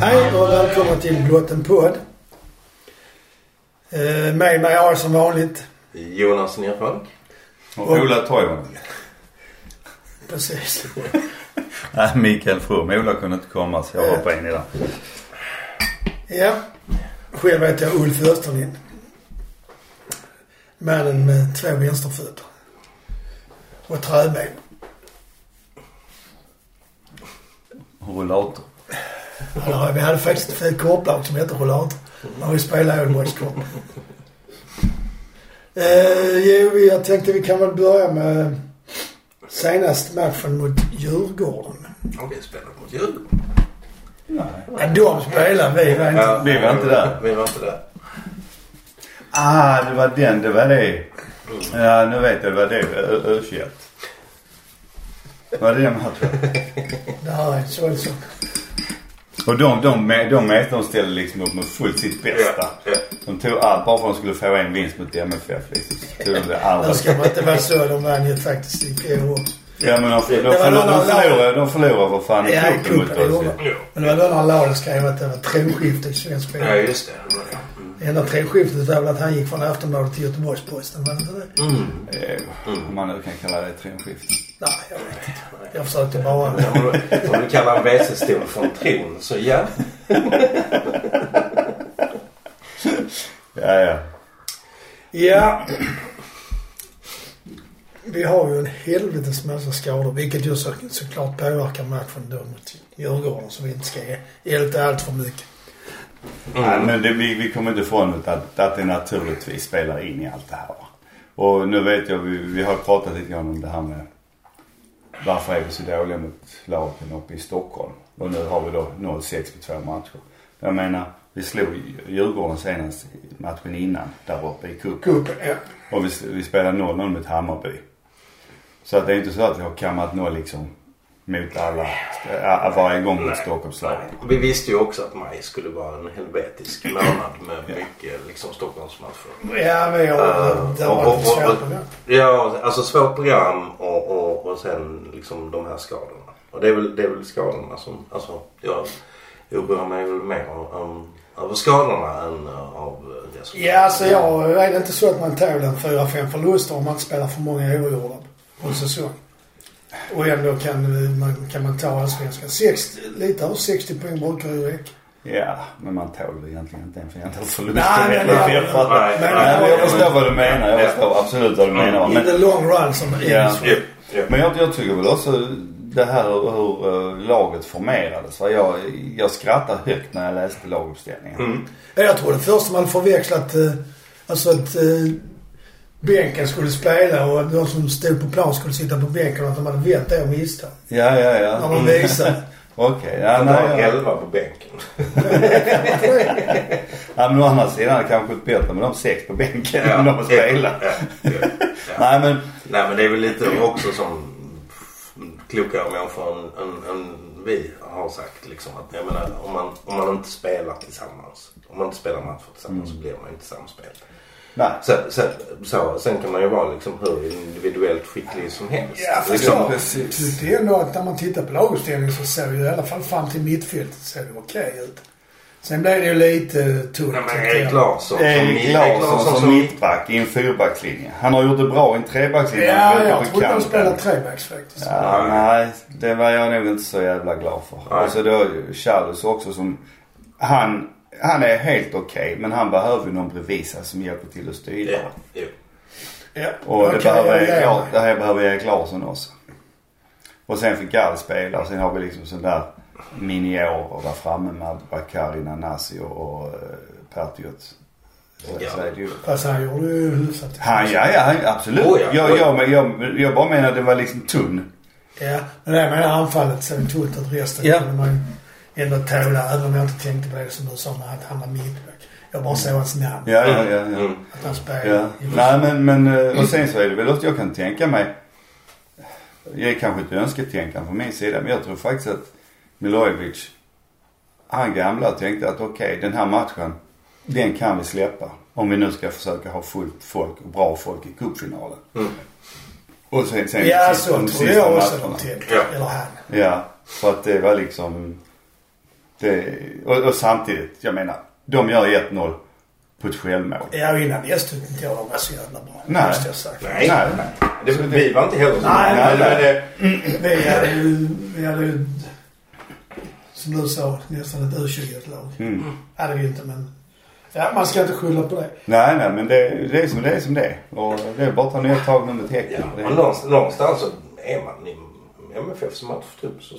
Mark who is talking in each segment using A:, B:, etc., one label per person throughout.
A: Hej och välkomna till Blotten Podd. Eh, Med mig har jag som vanligt.
B: Jonas Nerfalk.
C: Och Ola Toivonen.
A: Precis.
C: Nej, Mikael From. Ola kunde inte komma så jag hoppade in i det.
A: Ja. Själv heter jag Ulf Österlind. Mannen med två vänsterfötter. Och träben.
C: Och Rullator.
A: Eller, vi hade faktiskt ett fint korplag som hette Rollator. När vi spelade Ålborgskorp. Eh, jo, jag tänkte vi kan väl börja med senast matchen mot Djurgården.
B: Och det spelar mot jul.
A: Ja, de spelade, vi var inte...
C: vi var inte där.
B: Vi var inte där.
C: Ah, det var den. Det var det. Ja, nu vet jag. Det var det. Ö- U21. Var det den matchen?
A: Nej, så är det så.
C: Och de, de, de, de, de, de ställde liksom upp med fullt sitt bästa.
B: Ja.
C: De tog allt bara för att de skulle få en vinst mot MFF. Liksom. Så tog de det
A: Där
C: allra
A: ska man inte vara så. De vann ju faktiskt i fjol också.
C: Ja men de, de, de,
A: Det var någon av
C: förlorade, de förlorade för fan i
A: Ja, i
C: cupen mot
A: cupen, det
C: oss.
A: gjorde
C: ju.
A: de. Men det var då när Laul skrev att det var ett tronskifte i svensk fotboll.
B: Ja, just det. det. var det. Mm.
A: Det enda tronskiftet var väl att han gick från Aftonbladet till Göteborgs-Posten, var det inte det?
B: Mm.
C: Eh, Om man nu kan kalla det ett tronskifte.
A: Nej, jag vet inte. Jag försökte bara...
B: Om du- Om du kallar en WC-stol för en tron så ja.
A: Mm.
C: Ja, ja.
A: Ja. Vi har ju en helvetes massa skador, vilket ju så, såklart påverkar matchen då mot Djurgården, så vi inte ska ge- älta allt för mycket.
C: Nej, men det, vi, vi kommer inte ifrån att, att det naturligtvis spelar in i allt det här. va. Och nu vet jag, vi, vi har pratat lite grann om det här med varför är vi så dåliga mot lagen uppe i Stockholm? Och nu har vi då 0-6 på två matcher. Jag menar, vi slog Djurgården senast i matchen innan där uppe i cupen.
A: Cupen, ja.
C: Och vi, vi spelar 0-0 mot Hammarby. Så att det är inte så att vi har kammat noll liksom mot alla, ä- varje gång mot Stockholmslagen.
B: Nej. Vi visste ju också att maj skulle vara en helvetisk månad med mycket liksom, Stockholmsmatcher.
A: Ja, vi har...
B: Eh,
A: det
B: och-
A: har
B: och-
A: varit svårt
B: och-
A: med det.
B: Ja, alltså svårt program och, och, och sen liksom de här skadorna. Och det är väl, det är väl skadorna som, alltså jag oroar mig väl mer om, över skadorna än eh, av eh, det som...
A: Ja, alltså jag är det inte så att man tål en fyra, fem förluster om man inte spelar för många oavgjorda på en säsong. Och ändå kan man, kan man ta allsvenskan. 60, lite över 60 poäng brukar ju räcka.
C: Ja, men man tål det egentligen inte en förväntad förlust.
A: Nej, men-
C: Jag fattar.
B: Nej,
A: Men-
C: Nej, men jag förstår vad du menar.
B: Ja.
C: Jag förstår absolut vad du menar.
A: In the
C: Men,
A: long run som det
C: Ja.
A: är så.
B: Ja, ja.
C: men jag, jag tycker väl också det här hur, hur eh, laget formerades. va. Jag, jag skrattar högt när jag läste laguppställningen.
A: Ja, Jag trodde först man förväxlat, eh, alltså att eh, bänken skulle spela och de som stod på plan skulle sitta på bänken och att de hade vett det av misstag.
C: Ja, ja,
A: När
C: ja.
A: de visade.
C: Okej. Ja,
B: Han har
C: nej, jag-
B: elva på bänken.
C: ja, men å andra sidan är det kanske ett bättre med de sex på bänken än de spelar.
B: Ja, ja, ja.
C: Nej, men
B: Nej men det är väl lite också som klokare människor än, än, än vi har sagt liksom. Att, jag menar om man, om man inte spelar tillsammans. Om man inte spelar matcher tillsammans
C: Mm.
B: så blir man inte samspel.
C: nej.
B: Så, så, så, sen kan man ju vara liksom hur individuellt skicklig som helst.
A: Ja, för
B: liksom.
A: så.
C: precis.
A: Det är ändå att när man tittar på laguppställningen så såg ju i alla fall fram till mittfältet såg det okej ut. Sen blev det ju lite tunt.
B: Nej, men Erik Larsson. som-
C: Erik Larsson som mittback i en fyrbackslinje. Han har gjort det bra i en trebackslinje. Han
A: Ja,
C: har
A: jag
C: gjort det på
A: trodde de
C: kanten.
A: spelade trebacks faktiskt.
C: Ja, nej, det var jag nog inte så jävla glad för.
B: Nej.
C: Och så då Charles också som... Han, han är helt okej men han behöver ju någon bredvid sig som hjälper till att styra.
B: Ja, jo.
A: Ja,
C: Och det
A: okej,
C: behöver,
A: jag
C: Erik,
A: ger
C: Lar-
A: mig.
C: det här behöver Erik Larsson också. Och sen fick Gall spela och sen har vi liksom sån där miniorer där framme med Bakari, Nanasi och, och eh, Pertiot. Så,
B: Ja.
C: så är det ju.
A: Fast han gjorde ju hyfsat.
C: Han, ja, ja, han, absolut.
B: Oh ja, oh
C: jag,
B: ja.
C: jag, men jag, jag bara menar att det var liksom tunn.
A: Ja, men det menar anfallet såg tungt ut. Resten
C: Ja.
A: kunde man ju ändå tåla. Även om jag inte tänkte på det som du sa med att han var mittback. Jag bara såg hans namn.
C: Ja, ja, ja. ja.
B: Mm.
A: Att han
C: Ja.
A: spelade.
C: Nej men, men eh, och sen så är det väl också, jag kan tänka mig. Det är kanske ett önsketänkande från min sida men jag tror faktiskt att Milojevic, han gamla tänkte att okej den här matchen, den kan vi släppa. Om vi nu ska försöka ha fullt folk och bra folk i cupfinalen. Och sen, sen
A: Ja,
C: sen-
A: så
C: de
A: trodde
C: sista
A: jag också de
C: matcherna.
A: tänkte.
B: Ja.
A: Eller han.
C: Ja, för att det var liksom. Det, och, och samtidigt, jag menar, de gör 1-0 på ett självmål.
A: Ja, innan dess tyckte inte jag de var så jävla bra.
C: Nej.
A: Måste jag säga.
B: Nej,
C: Nej.
B: nej. Det, vi var inte heller så
A: Nej,
B: men,
C: nej.
B: men, eh,
A: Vi hade ju, vi hade ju, som du sa, nästan ett U21-lag.
C: Mm.
A: Hade vi inte men. Ja, man ska inte skylla på det.
C: Nej, nej, men det, det är som det är som det är. Och det är bara att ta nya tag nu mot Häcken.
B: Ja,
C: Det-
B: men någonstans, någonstans så är man i MFFs matchtrupp så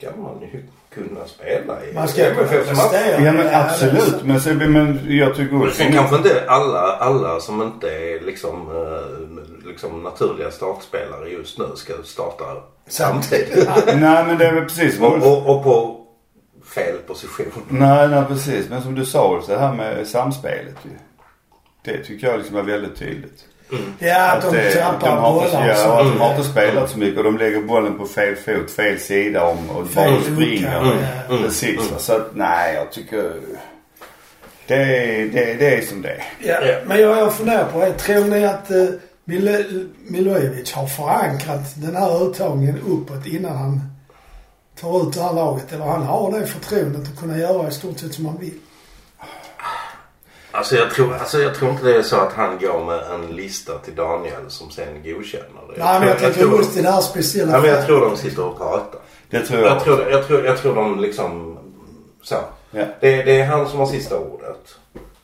B: ska man ju kunna spela i
A: Man ska kunna
B: MFFs match.
A: prestera.
C: Ja men
A: det är-
C: absolut. Men, så, men jag tycker
B: Men
C: också...
B: Sen kanske inte alla, alla som inte är liksom, eh, liksom naturliga startspelare just nu ska starta samtidigt.
C: Nej men det är väl precis
B: och,
C: vad Ulf...
B: och, och på fel position.
C: Nej, nej precis. Men som du sa Ulf, det här med samspelet ju. Det tycker jag liksom är väldigt tydligt.
A: Ja, att de
C: det-
A: tappar
C: eh, har inte,
A: bollar och
C: ja,
A: sånt.
C: de har inte spelat så mycket och de lägger bollen på fel fot, fel sida om och bara
A: Fel
C: springer.
A: hookar, ja.
C: Precis va. Så att nej, jag tycker... Det, det, det är som det är.
A: Ja,
B: Ja.
A: men jag, jag funderar på det. Tror ni att eh, Milo, Milojevic har förankrat den här uttagningen uppåt innan han tar ut det här laget? Eller han har det förtroendet att kunna göra i stort sett som han vill?
B: Alltså jag, tror, alltså jag tror inte det är så att han går med en lista till Daniel som sen godkänner det.
A: Nej, men jag tänker
B: tror-
A: just i det här speciella
B: Nej, men jag tror de sitter och pratar.
C: Det tror jag.
B: Jag tror, jag tror, jag tror de liksom... Så.
C: Ja,
B: Det, det är han som har sista ordet.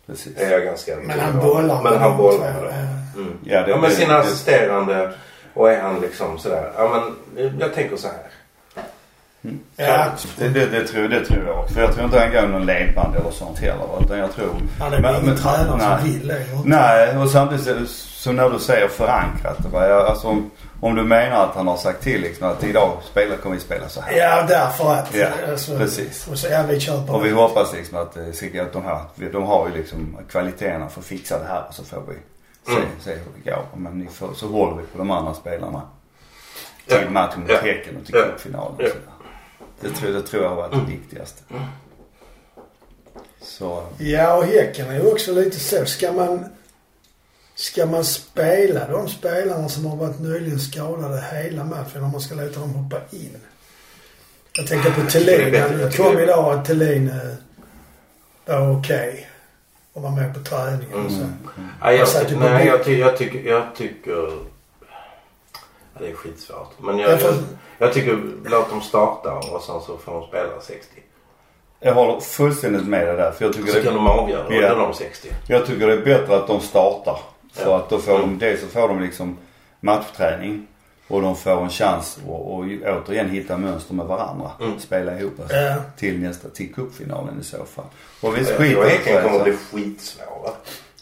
C: precis.
B: Det är jag ganska
A: Men han bollar.
B: Men han bollar med det.
A: Eh,
C: Ja, det,
B: Ja, men sina
C: det-
B: assisterande och är han liksom sådär. Ja, men jag tänker så här.
A: Ja,
C: Det, det, det, tror, det tror jag också. För jag tror inte han går någon ledband eller sånt heller. va, Utan jag tror...
A: han är väl ingen tränare
C: nej.
A: som vill det.
C: Nej, och samtidigt så- som när du säger förankrat. Va? Jag, alltså, om, om du menar att han har sagt till liksom, att idag spelar, kommer vi spela så här.
A: Ja, därför att.
C: Ja,
A: alltså,
C: precis.
A: Och så, ja, vi köper
C: Och vi
A: det.
C: hoppas liksom att eh, Sigge, att de här, de har ju liksom kvaliteterna för att fixa det här och så får vi se,
B: Mm.
C: se hur det går. Men ni får, så håller vi på de andra spelarna
B: Ja.
C: till matchen mot
B: Ja.
C: Häcken och till
B: Ja.
C: cupfinalen.
B: Ja. Mm.
C: och sådär. Det, tror- det tror jag har varit det viktigaste. Så,
A: Ja, och Häcken är ju också lite så. Ska man, ska man spela de spelarna som har varit nyligen skadade hela matchen om man ska låta dem hoppa in? Jag tänker på
B: Jag
A: Thelin.
B: vet inte,
A: Han
B: jag
A: kom
B: tycker-
A: idag att Thelin eh, var okej. Och var med på träningen och
C: Mm.
A: så.
B: Ja, jag,
A: Alltså, du-
B: nej, jag, ty, jag tycker... Jag tycker ja, det är skitsvårt. Men jag,
A: Jag
B: jag,
A: får-
B: jag tycker låt dem starta och sen så får de spela 60.
C: jag håller fullständigt med dig där. För jag tycker
B: Så
C: det,
B: kan de avgöra
C: Ja.
B: under de 60.
C: Jag tycker det är bättre att de startar. För
B: Ja. Mm.
C: att då får de, dels så får de liksom matchträning och de får en chans att och återigen hitta mönster med varandra.
B: Mm.
C: Spela ihop alltså,
A: Ja.
C: till nästa, till cupfinalen i så fall. Och visst
B: Jag tror
C: skiter det
B: Häcken kommer
C: sig.
B: bli skitsvåra.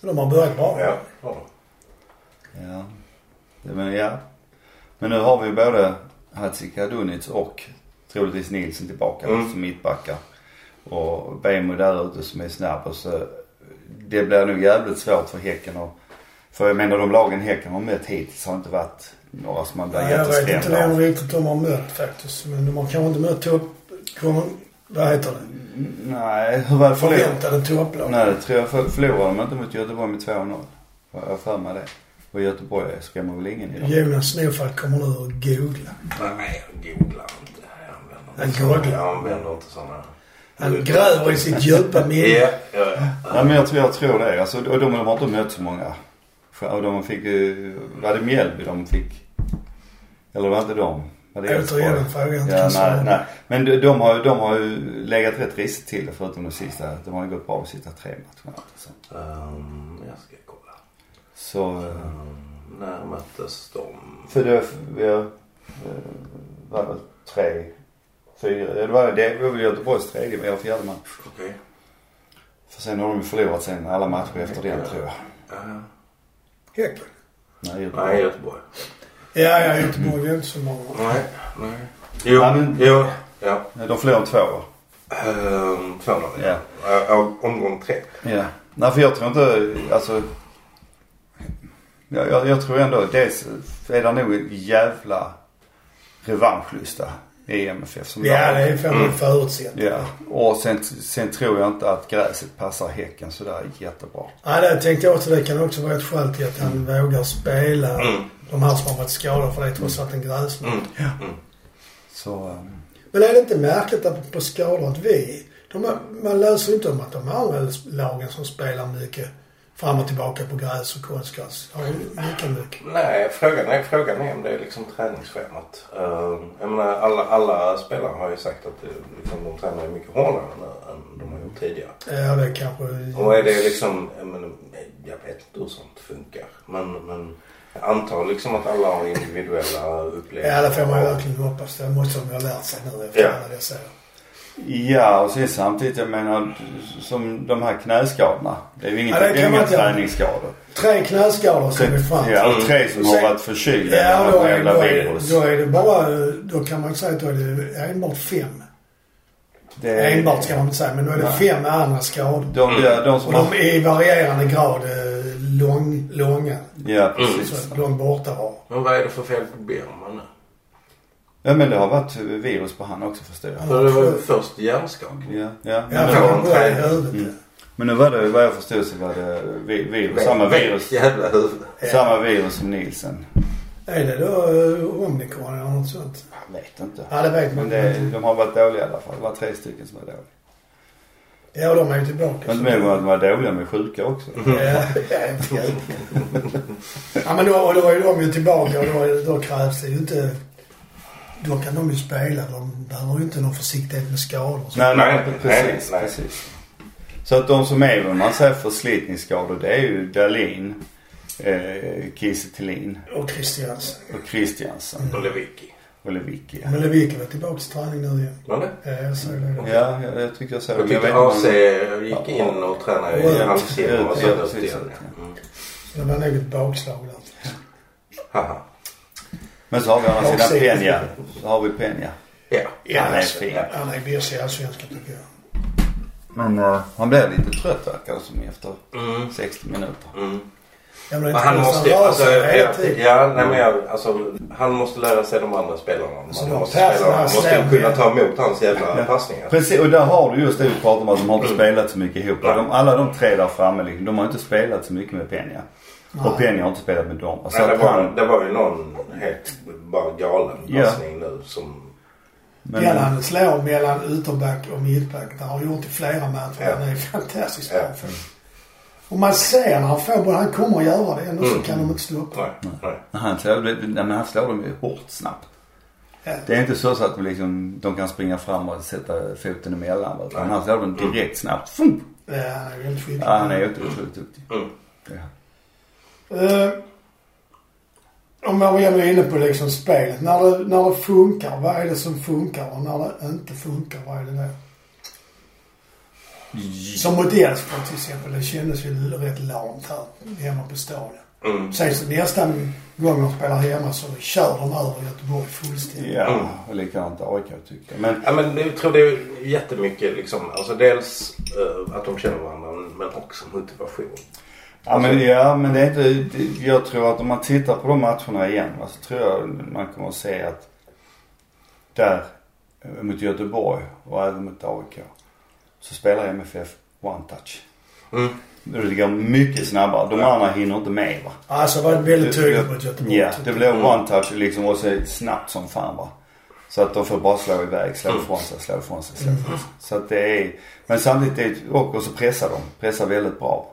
A: De har börjat bra.
B: Ja. Ja.
C: Ja. Det- Men, ja. Men nu har vi ju både Hadzikadunic och troligtvis Nilsson tillbaka
B: Mm.
C: som mittbackar. Och Bemo där ute som är snabb. Och så, det blir nog jävligt svårt för Häcken och, För jag menar de lagen Häcken har mött hittills har inte varit några som man blir
A: Nej, jag vet inte
C: jätteskrämd
A: vem
C: av.
A: riktigt de har mött faktiskt. Men de har kanske inte mött topp... kom- Vad heter det?
C: Nej, hur var det förlorade?
A: Förväntade topplag.
C: Nej, det tror jag för- förlorade de inte mot Göteborg med 2-0. Jag har för mig det. Och Göteborg skrämmer väl ingen i dem.
A: Jonas Snofalk kommer nu och googla.
B: Nej, jag googlar inte. Jag använder inte
A: Han
B: såna-
A: googlar.
B: Jag använder inte sådana.
A: Han gräver i sitt djupa minne.
B: Ja, ja, ja.
C: Nej men jag tror, jag tror det. Alltså, och de har inte mött så många. Och de fick ju... Var det Mjällby de fick? Eller var det inte de? Var det
A: Återigen en
C: Elfsborg?
A: fråga jag inte
C: Ja,
A: kan svara
C: nej,
A: på.
C: nej. Men de, de, har, ju- de har ju legat rätt risigt till det förutom de sista. De har ju gått bra de sista tre matcherna. Alltså.
B: Ehm, jag ska kolla.
C: Så... eh,
B: Ehm, när möttes de?
C: För det vi har, eh, var väl tre, fyra. ja, Det var, det var väl Göteborgs tredje, men jag fjärde match.
B: Okej.
C: För sen har de ju förlorat sen alla matcher efter den tror jag.
B: Ja.
A: Häcken.
C: Nej, Göteborg.
B: Nej, Göteborg.
A: Ja, ja, Göteborg är inte så många.
B: Nej, nej. Jo,
C: Ja, men-
B: jo. Ja.
C: De förlorade två va?
B: Ehm, Två dagar.
C: Ja.
B: Ehm, omgång tre.
C: Ja. Nej, för jag tror inte, alltså. Jag, jag, jag tror ändå, dels är det nog en jävla revanschlusta i MFF som
A: Ja,
C: lag.
A: det är fan mm. förutsättning.
C: Ja, och sen, sen tror jag inte att gräset passar Häcken sådär jättebra.
A: Ja, det tänkte jag också. Det kan också vara ett skäl till att han vågar spela
B: Mm.
A: de här som har varit skadade. För det är trots allt en gräsmatta.
B: Mm. Mm.
C: Så, ehm,
A: Men är det inte märkligt att på skador att vi, De, man läser inte om att de andra lagen som spelar mycket fram och tillbaka på gräs och konstgräs har lika mycket.
B: Nej, frågan är, frågan är om det är liksom träningsschemat. Uh, jag menar, alla, alla spelare har ju sagt att det, liksom, de tränar mycket hårdare nu än de har gjort tidigare.
A: Ja, det kanske...
B: Och är det liksom, jag, menar, jag vet inte hur sånt funkar. Men, men jag antar liksom att alla har individuella upplevelser.
A: Ja, det får man ju verkligen hoppas. Det måste de ju ha lärt sig nu efter
B: Ja.
A: alla dessa år.
C: Ja, och sen samtidigt, jag menar, som de här knäskadorna. Det är ju inget,
A: Ja, det
C: det
A: kan
C: är
A: man
C: inga
A: inte-
C: träningsskador.
A: Tre knäskador ska vi fram till.
C: Ja, och tre som har
A: Sen-
C: varit förkylda
A: Ja,
C: med
A: då
C: något
A: är,
C: jävla
A: då, är,
C: virus.
A: då är det bara... Då kan man inte säga att då är det enbart fem.
C: Det är-
A: Enbart ska man inte säga, men då är det
C: Nej.
A: fem andra skador.
C: De, ja, de
A: Och
C: som
A: de
C: har...
A: är i varierande grad eh, lång, långa.
C: Ja,
A: Mm.
C: precis.
A: Så långt borta var.
B: Men vad är det för fel på Björman nu?
C: Ja, men det har varit virus på han också förstår jag.
B: För det var ju först hjärnskakning.
C: Ja, ja.
A: Ja,
C: Men,
A: för de
B: det var en
C: Mm. nu,
A: börjar i
B: träning.
A: huvudet.
C: men nu var det, vad jag förstod så var det vi- virus, samma
B: Väck,
C: virus,
B: Jävla huvud.
C: samma virus som Nielsen.
A: Är det då eh, omikron eller något sånt?
C: Jag vet inte.
A: Ja, det vet man
C: Men
A: inte.
C: det, de har varit dåliga i alla fall. Det var tre stycken som var dåliga.
A: Ja, de är ju tillbaka.
C: Men inte med att de var dåliga, men sjuka också.
A: Ja, ja, ja, men då, och då är de ju tillbaka och då, är- då krävs det ju inte... Då kan de ju spela. De behöver ju inte någon försiktighet med skador. och så.
C: Nej, nej,
B: Nej,
C: precis,
B: nej.
C: precis. Så att de som är vad man säger förslitningsskador det är ju Dahlin, eh, Kiese Thelin
A: Och Christiansen.
C: och Christiansen
B: Och Lewicki.
C: och Lewicki. Ja.
A: Men Lewicki var tillbaka till träning nu igen.
B: Var det?
A: Ja, jag såg det.
C: Ja, jag, jag tycker jag såg
B: Jag
C: det.
B: tyckte
C: vet
B: AC
C: inte om-
B: gick
C: Ja.
B: in och tränade
A: Ja,
B: i
A: ja,
B: halvsekler och
C: ja,
B: satte upp
C: precis,
B: igen.
C: ja.
B: Mm.
A: Det var nog ett bakslag där.
B: Haha.
C: Men så har vi å andra
A: Jag
C: sidan
A: ser-
C: Peña. Så har vi Peña.
B: Ja.
A: Ja,
C: Han är
A: alltså,
C: fin.
A: Han är bäst i Allsvenskan tycker jag.
C: Men eh, han blir lite trött verkar det som efter
B: Mm.
C: 60 minuter.
B: Mm.
A: Ja, men det är
B: Men
A: inte
B: han
A: konstigt,
B: måste ju,
A: rör
B: alltså,
A: sig hela
B: jag,
A: tiden.
B: ja, nej, men jag, alltså, han måste lära sig de andra spelarna. Man
A: Så de
B: måste,
A: passar
B: spela, man
A: hans
B: måste ju
A: läm-
B: kunna ta emot hans jävla
C: Ja.
B: passningar.
C: Precis, och där har du just det vi pratar om att de har inte spelat så mycket ihop.
B: Nej.
C: De, alla de tre där framme liksom, de har inte spelat så mycket med Peña. Och
A: Nej.
C: Peña har inte spelat med dem. Så
B: Nej, det,
C: att
B: var,
C: han,
B: det var ju någon helt bara galen
C: Ja.
B: passning nu som...
C: men,
A: Den han slår mellan ytterback och mittback. Det har han gjort i flera matcher.
B: Ja.
A: Han är fantastiskt
B: Ja.
A: bra för det. Och man ser när han får bollen, han kommer att göra det. Ändå så
B: Mm.
A: kan de inte stoppa.
B: Nej, nej.
C: han, slår, det- det- nej, men han slår dem ju hårt snabbt.
A: Ja.
C: Det är inte så, så att de liksom, de kan springa fram och sätta foten emellan. va, Utan
B: Nej.
C: han slår dem direkt snabbt. Fum!
A: Ja, han är väldigt skicklig.
C: Ja, han är ju otroligt duktig.
B: Mm.
C: Ja.
A: Eh, om man var ändå inne på liksom spelet. När det, när det funkar, vad är det som funkar? Och när det inte funkar, vad är det då? Som mot Elfsborg till exempel. Det kändes ju rätt lamt här hemma på Stadion.
B: Mm.
A: Sen så nästa gång de spelar hemma så kör de över Göteborg fullständigt.
C: Ja, och likadant AIK tycker jag. Men,
B: Ja, men jag tror det är jättemycket liksom. Alltså dels eh, att de känner varandra men också motivation.
C: ja, men, ja, men det är inte, det- jag tror att om man tittar på de matcherna igen va, så tror jag man kommer att se att där eh, mot Göteborg och även mot AIK så spelar MFF one touch.
B: Mm.
C: Det går mycket snabbare. De andra hinner inte med va.
A: Alltså var det väldigt tydligt mot Göteborg. Typ.
C: Ja, det
A: tycker
C: blev one touch liksom och så snabbt som fan va. Så att de får bara slå iväg, slå ifrån sig, slå ifrån sig, slå
A: Mm.
C: ifrån sig. Så att det är, men samtidigt är det, och, och så pressar de, pressar väldigt bra.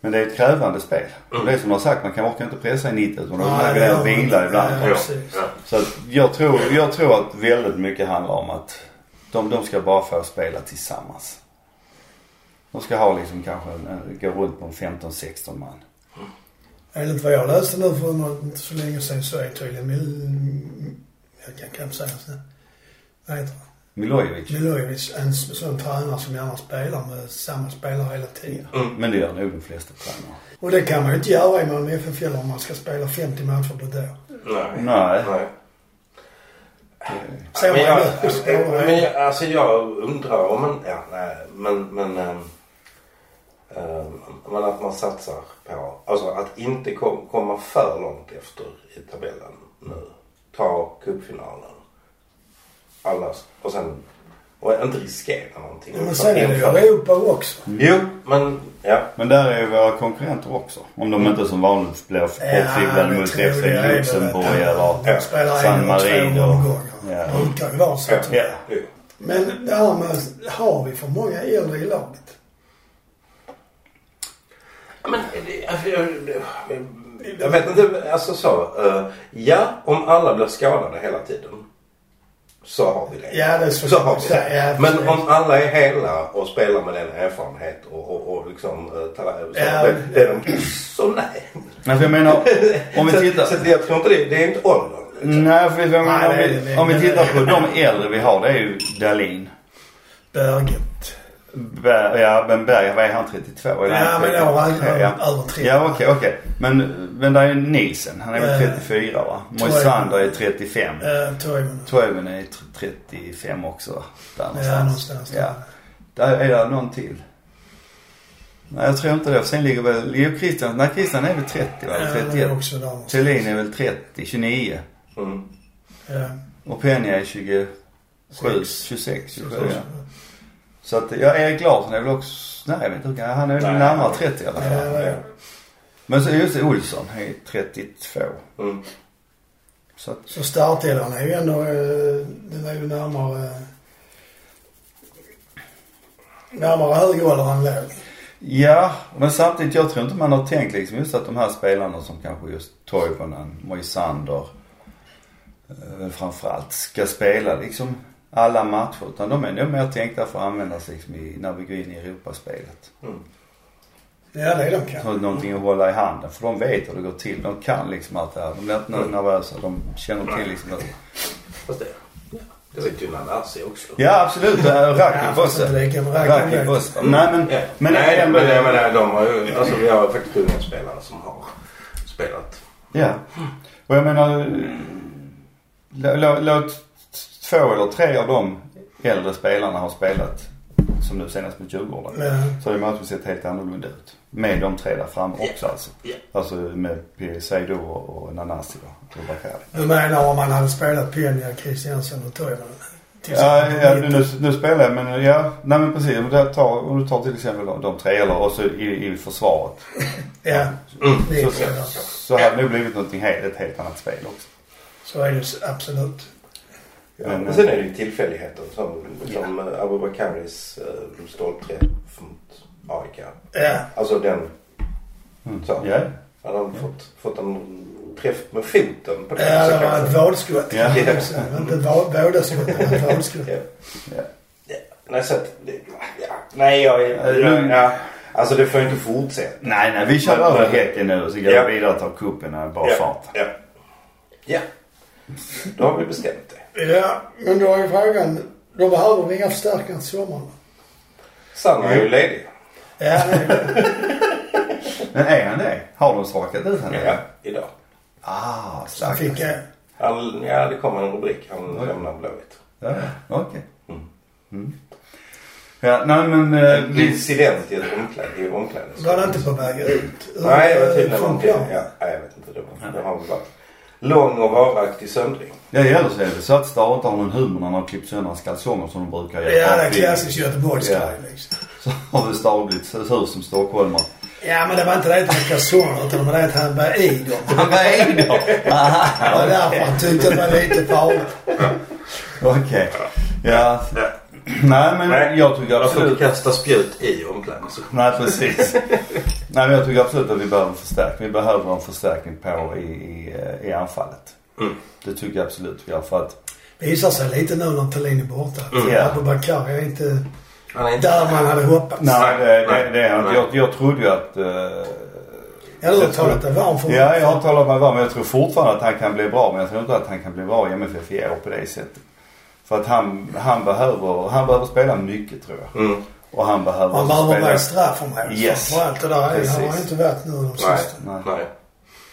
C: Men det är ett krävande spel. Och det är som du har sagt, man kan orkar inte pressa i 90
A: Nej,
C: utan man lägger
A: det
C: ner
A: gör
C: och
A: man
C: vilar
A: inte.
C: ibland.
A: Ja.
B: Ja,
A: precis.
B: ja.
C: Så att jag tror, jag tror att väldigt mycket handlar om att de, de ska bara få spela tillsammans. De ska ha liksom kanske, en, en- gå runt på en 15-16 man.
A: jag. Enligt vad jag läste nu för något- inte så länge sedan så är tydligen Mil... Jag kan knappt säga så. Vad heter han?
C: Milojevic.
A: Milojevic en s- sån tränare som gärna spelar med samma spelare hela tiden.
C: Mm. Men det gör nog de flesta tränare.
A: Och det kan man ju inte göra i Malmö FF heller om man ska spela 50 matcher på ett år.
B: Nej.
C: Nej.
B: Nej.
A: Ser man
B: Men,
A: ju
B: jag,
A: nu. Så är det.
B: men jag, alltså jag undrar om man... Ja, nej, men... men ehm, ehm, men att man satsar på... Alltså att inte kom, komma för långt efter i tabellen nu. Ta cupfinalen. Alla... Och sen... Och inte riskera någonting.
A: Men sen är det ju Europa också.
C: Jo,
B: Men ja.
C: men där är ju våra konkurrenter också. Om de inte som vanligt blir bortdribblade mot
A: det tror
C: FC
A: jag är väl
C: Luxemburg
A: att
C: eller
A: De spelar
C: San
A: en och två
C: Marino.
A: omgångar.
C: Ja.
A: Det brukar ju vara så.
B: Ja.
A: tror jag.
C: Ja.
B: Jo.
A: Men det här med, har vi för många äldre i laget?
B: Ja, Men, eh, jag, jag- jag vet inte, alltså så. eh, Ja, om alla blir skadade hela tiden. Så har vi det.
A: Ja, det är så-
B: så har vi
A: Ja,
B: det.
A: precis.
B: Men om alla är hela och spelar med den erfarenhet och, och, och liksom eh, talang. Så,
A: Ja.
B: det- är de, så nej.
C: Nej, för jag menar, om vi
B: Så-
C: tittar...
B: Så, jag tror inte det. Det är inte åldern. Liksom.
C: Nej, för jag menar, om,
A: Nej, det-
C: vi,
A: det-
C: om vi
A: det-
C: tittar på de äldre vi har. Det är ju Dahlin.
A: Berget.
C: Ber- Ja, men Berger, vad är han? 32? Eller
A: Ja,
C: han
A: men
C: 33?
A: då var han
C: Ja.
A: över 30.
C: Ja, okej, okej. Men, men där är Nielsen. Han är väl
A: Eh,
C: 34 va? Moisander är 35.
A: Eh, Toivonen.
C: Toivonen är tr- 35 också va? Där någonstans.
A: någonstans där.
C: Ja. Där är det någon till. Nej, jag tror inte det. Sen ligger väl... Jo, Christian, nej, Christian är väl 30 va?
A: Ja,
C: Eller
A: det är
C: 31.
A: också där någonstans.
C: Thelin är väl 30, 29.
B: Mm.
A: Ja.
C: Och Penja är 27,
A: Sex.
C: 26, 27 ja. Så att, ja, Erik Larsson är väl också, nej jag vet inte, han är väl
B: Nej.
C: närmare 30 i alla fall.
A: Ja, det är-
C: Men så just det, Olsson, han är 32.
B: Mm.
C: Så att,
A: Så startelvan är ju ändå, eh, den är ju närmare eh, närmare hög ålder än låg.
C: ja, men samtidigt, jag tror inte man har tänkt liksom just att de här spelarna som kanske just Toivonen, Moisander, eh, väl framförallt, ska spela liksom alla matcher. Utan de är nog mer tänkta för att användas liksom i, när vi går in i Europaspelet.
A: Ja, det är de
C: Så
A: kanske.
C: att någonting att hålla i handen. För de vet hur det går till. De kan liksom allt det här. De blir inte nervösa. De känner till liksom att...
B: Fast det, ja, det vet ju Nanasi också.
C: Ja absolut, eh, Rakic
A: fast
C: också.
A: inte lika med Rakic.
C: Rakic också. Nej men...
B: Ja.
C: men
B: nej,
C: ändå-
B: men, jag menar, de har ju, alltså, vi har faktiskt unga spelare som har spelat.
C: Ja. Och jag menar... lå- lå- Låt två eller tre av de äldre spelarna ha spelat, som nu senast med Djurgården.
A: Men,
C: Så hade matchen sett helt annorlunda ut. Med de tre där framme också alltså.
B: Ja.
C: Alltså med P. Seido och och Nanasi då. Och Bakari.
A: du menar om man hade spelat Peña, Christiansen och Toivonen?
C: Ja, ja nu, nu spelar jag men ja, nej men precis. Om du tar, om du tar till exempel de, de tre eller och så i, i försvaret.
A: Ja,
B: Mm.
A: det är
C: Så,
A: så,
C: så, så hade det nog blivit någonting helt, ett helt annat spel också.
A: så är det ju absolut.
B: Ja,
C: Men,
B: men,
C: eh,
B: sen är det ju tillfälligheter som, som eh, Abu Bakaris eh, stolpträff mot AIK.
A: Ja,
B: Alltså den...
C: Mm.
B: Så.
C: Ja.
B: Hade han fått, fått en träff med foten på den
A: ja
B: så
A: det var
B: kanske-
A: ett vadskott.
C: Ja.
A: kan man säga. Det var Inte va- vådaskott, det var ett vadskott.
B: Ja.
C: Ja.
B: Ja. Nej, så att, det- ja. Nej, jag är...
C: Ja,
B: Ja,
C: nu-
B: Alltså det får ju inte fortsätta.
C: Nej, nej vi kör
B: Men-
C: över Häcken nu och så går
B: Ja.
C: vi vidare och tar cupen när det bara
B: Ja.
C: fart.
B: ja. Ja. Då har vi bestämt det.
A: Ja, men då är frågan, då behöver vi inga förstärkningar till sommaren.
B: Sanna är ju ledig.
A: Ja, nej.
C: Men är han det? Har de strakat ut honom?
B: Ja, idag.
C: Ah,
A: så
C: stackars.
A: fick jag.
B: Han, ja, det kommer en rubrik. Han lämnar Blåvitt.
C: Ja, okej. Mm. Ja, nej men... eh,
B: En
C: vi-
B: incident i ett omkläde, i omklädningsrum.
A: Var det inte på väg ut? ur-
B: Nej, det var tydligen
A: från
B: någonting.
A: plan?
B: Ja, nej, jag vet inte. Det, var, det har väl varit lång och varaktig söndring.
C: Ja, eller så är det så att Star inte har någon humor när de har klippt sönder hans kalsonger som de brukar göra.
A: Ja, det är
C: Vi-
A: klassiskt Göteborgsgrej
C: Ja.
A: liksom.
C: Så har väl Star blivit så sur som stockholmare.
A: Ja, men det var inte det att han kalsonger utan det var det att han var i dem.
C: Han var i då!
A: Det
C: Aha,
A: var därför han tyckte det var lite farligt.
C: Okej. Ja. Nej men
B: Nej,
C: jag tycker
B: Man får
C: absolut...
B: inte kasta spjut i omklädningsrummet.
C: Nej precis. Nej men jag tycker absolut att vi behöver en förstärkning. Vi behöver en förstärkning på i, i, eh, i anfallet.
B: Mm.
C: Det tycker jag absolut vi gör för att...
A: Det visar sig lite nu när Thelin är borta.
C: Mm.
A: Mm. Abubakar är inte
B: Han är inte...
A: där man hade hoppats.
C: Nej, det, det, det är
B: Nej.
C: jag, jag trodde ju att... eh,
A: Eller har talat dig varm för
C: Ja, jag har talat mig varm. Jag tror fortfarande att han kan bli bra. Men jag tror inte att han kan bli bra i MFF i år på det sättet. För att han, han, behöver, han behöver spela mycket tror jag.
B: Mm.
C: Och han behöver
A: Man
C: också
A: behöver vara i straffområdet
C: Yes.
A: framförallt. Det där är, han har
C: Precis.
A: inte varit nu de sista.
B: Nej,
C: Nej.
B: nej.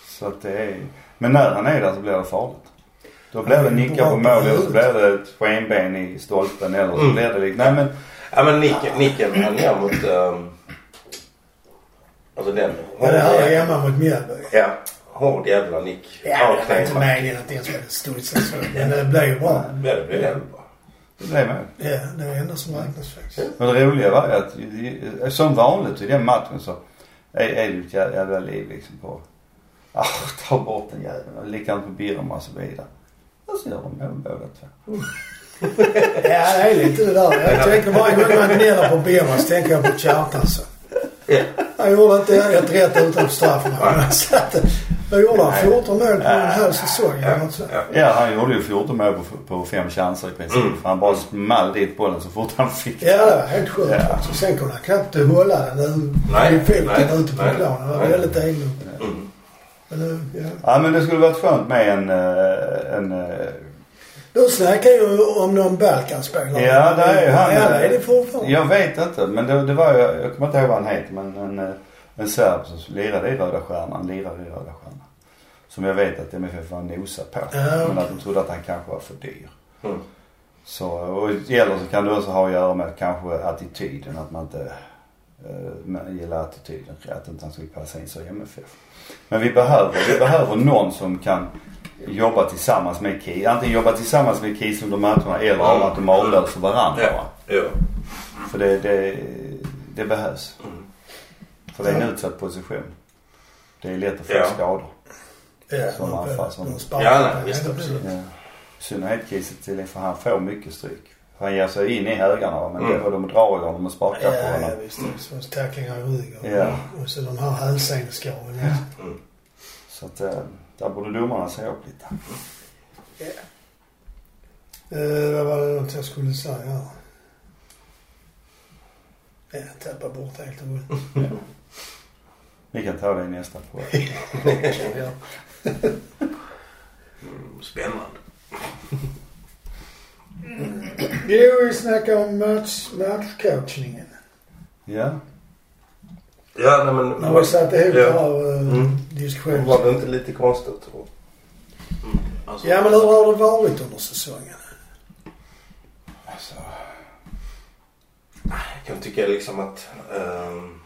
C: Så att det är... Men när han är där så blir det farligt. Då blir det nickar på mål eller så blir det ett skenben i stolpen eller så
B: Mm.
C: blir det liksom... Nej men...
B: Ja, men nicken, nicken han gör mot... ehm, alltså den...
A: Men det här är hemma mot Mjällby.
B: Ja, hård jävla nick.
A: Ja, det var inte
B: knäna.
A: meningen att den skulle studsa så. Men det blev ju bra.
B: Ja, det blir jävligt bra.
C: Det blev mål.
A: Ja, det är det enda som räknas faktiskt.
C: Men det roliga var ju att i- i- som vanligt i den matchen så är, är det ju ett jä- jävla liv liksom på... Ah, ta bort den jäveln. Och Likadant på Birma och så vidare. Och så gör de mål båda två.
A: Ja, det är lite det där. Jag tänker varje gång jag gnäller på Birman så tänker jag på Kjartansson.
B: Ja.
A: Han gjorde inte ett rätt utan straffmål. Så att, Vad gjorde han? 14 mål på en hel säsong eller något sånt.
B: Ja.
C: Ja, han gjorde ju 14 mål på, på fem chanser i princip.
B: Mm.
C: För han bara small dit bollen så fort han fick
A: Ja, det var helt sjukt
C: Ja.
A: faktiskt. Sen kunde han knappt hålla den
B: Nej,
A: i
B: nej,
A: foten ute på
B: nej,
A: planen. Det var
B: nej.
A: väldigt egendomligt.
B: Mm.
A: Men nu, ja.
C: Ja men det skulle varit skönt med en... eh, en eh,
A: Du snackar ju om någon Balkanspelare.
C: ja där är ju han. eh,
A: Ja, det är det fortfarande.
C: Jag vet inte men det, det var ju, jag kommer inte ihåg vad han heter men en, eh, en serb som lirade i Röda Stjärnan, lirade i Röda Stjärnan. Som jag vet att MFF var nosa på.
A: Ja,
C: Men
A: okej.
C: att de trodde att han kanske var för dyr.
B: Mm.
C: Så, och gäller så kan det också ha att göra med kanske attityden. Att man inte eh, man gillar attityden. Att inte han skulle passa in så i MFF. Men vi behöver, vi behöver någon som kan jobba tillsammans med KIS. Antingen jobba tillsammans med KIS under matcherna eller
B: Mm.
C: att de avlöser varandra.
B: Ja.
C: va?
B: Ja.
C: För det, det, det behövs.
B: Mm.
C: För det är en utsatt position. Det är lätt att få
B: Ja.
C: skador.
A: Ja,
C: Som
A: någon-
C: anfall, som-
A: någon spark.
B: Ja, nej, visst,
A: det blir-
B: absolut.
C: Ja. I synnerhet Kiese till för han får mycket stryk. Han ger sig in i högarna va, men
B: Mm.
C: det, och de drar i honom och
A: Ja,
C: sparkar på
A: ja,
C: honom.
A: visst. Det är så tacklingar i ryggen.
C: Ja.
A: Och så de här hälseneskraven. Ja.
C: Så att eh, där borde domarna se upp lite.
A: Eh, vad var det något jag skulle säga här? Ja, jag tappar bort helt och hållet.
C: Vi kan ta det i nästa podd.
A: Ja.
B: Mm, Spännande.
A: Jo, vi snackar om match, matchcoachningen.
C: Ja.
B: Ja, nej men...
A: När vi satte ihop
B: Ja.
A: den här eh,
B: Mm.
A: diskussionen.
B: Var det inte lite konstigt? tror jag? Mm, alltså-
A: Ja, men hur har det varit under säsongen?
C: Alltså,
B: Jag kan tycka liksom att... ehm,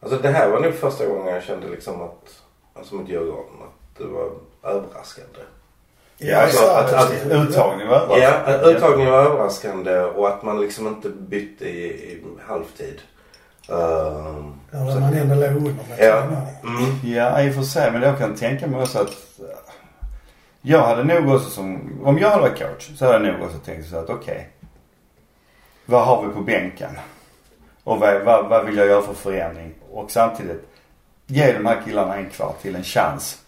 B: alltså det här var nog första gången jag kände liksom att... Alltså mot Djurgården. Att det var överraskande.
A: Ja,
B: alltså,
A: så-
B: att- att-
C: uttagning var
B: Ja, att uttagningen var överraskande och att man liksom inte bytte i, i halvtid. Ehm,
A: Ja, där man ändå låg under med
B: Ja.
A: tränaren.
B: mm,
C: Ja, i och för sig. Men jag kan tänka mig också att... eh, Jag hade nog också som... Om jag hade varit coach så hade jag nog också tänkt så att okej. vad har vi på bänken? Och vad, vad, vad vill jag göra för förändring? Och samtidigt ge de här killarna en kvart till en chans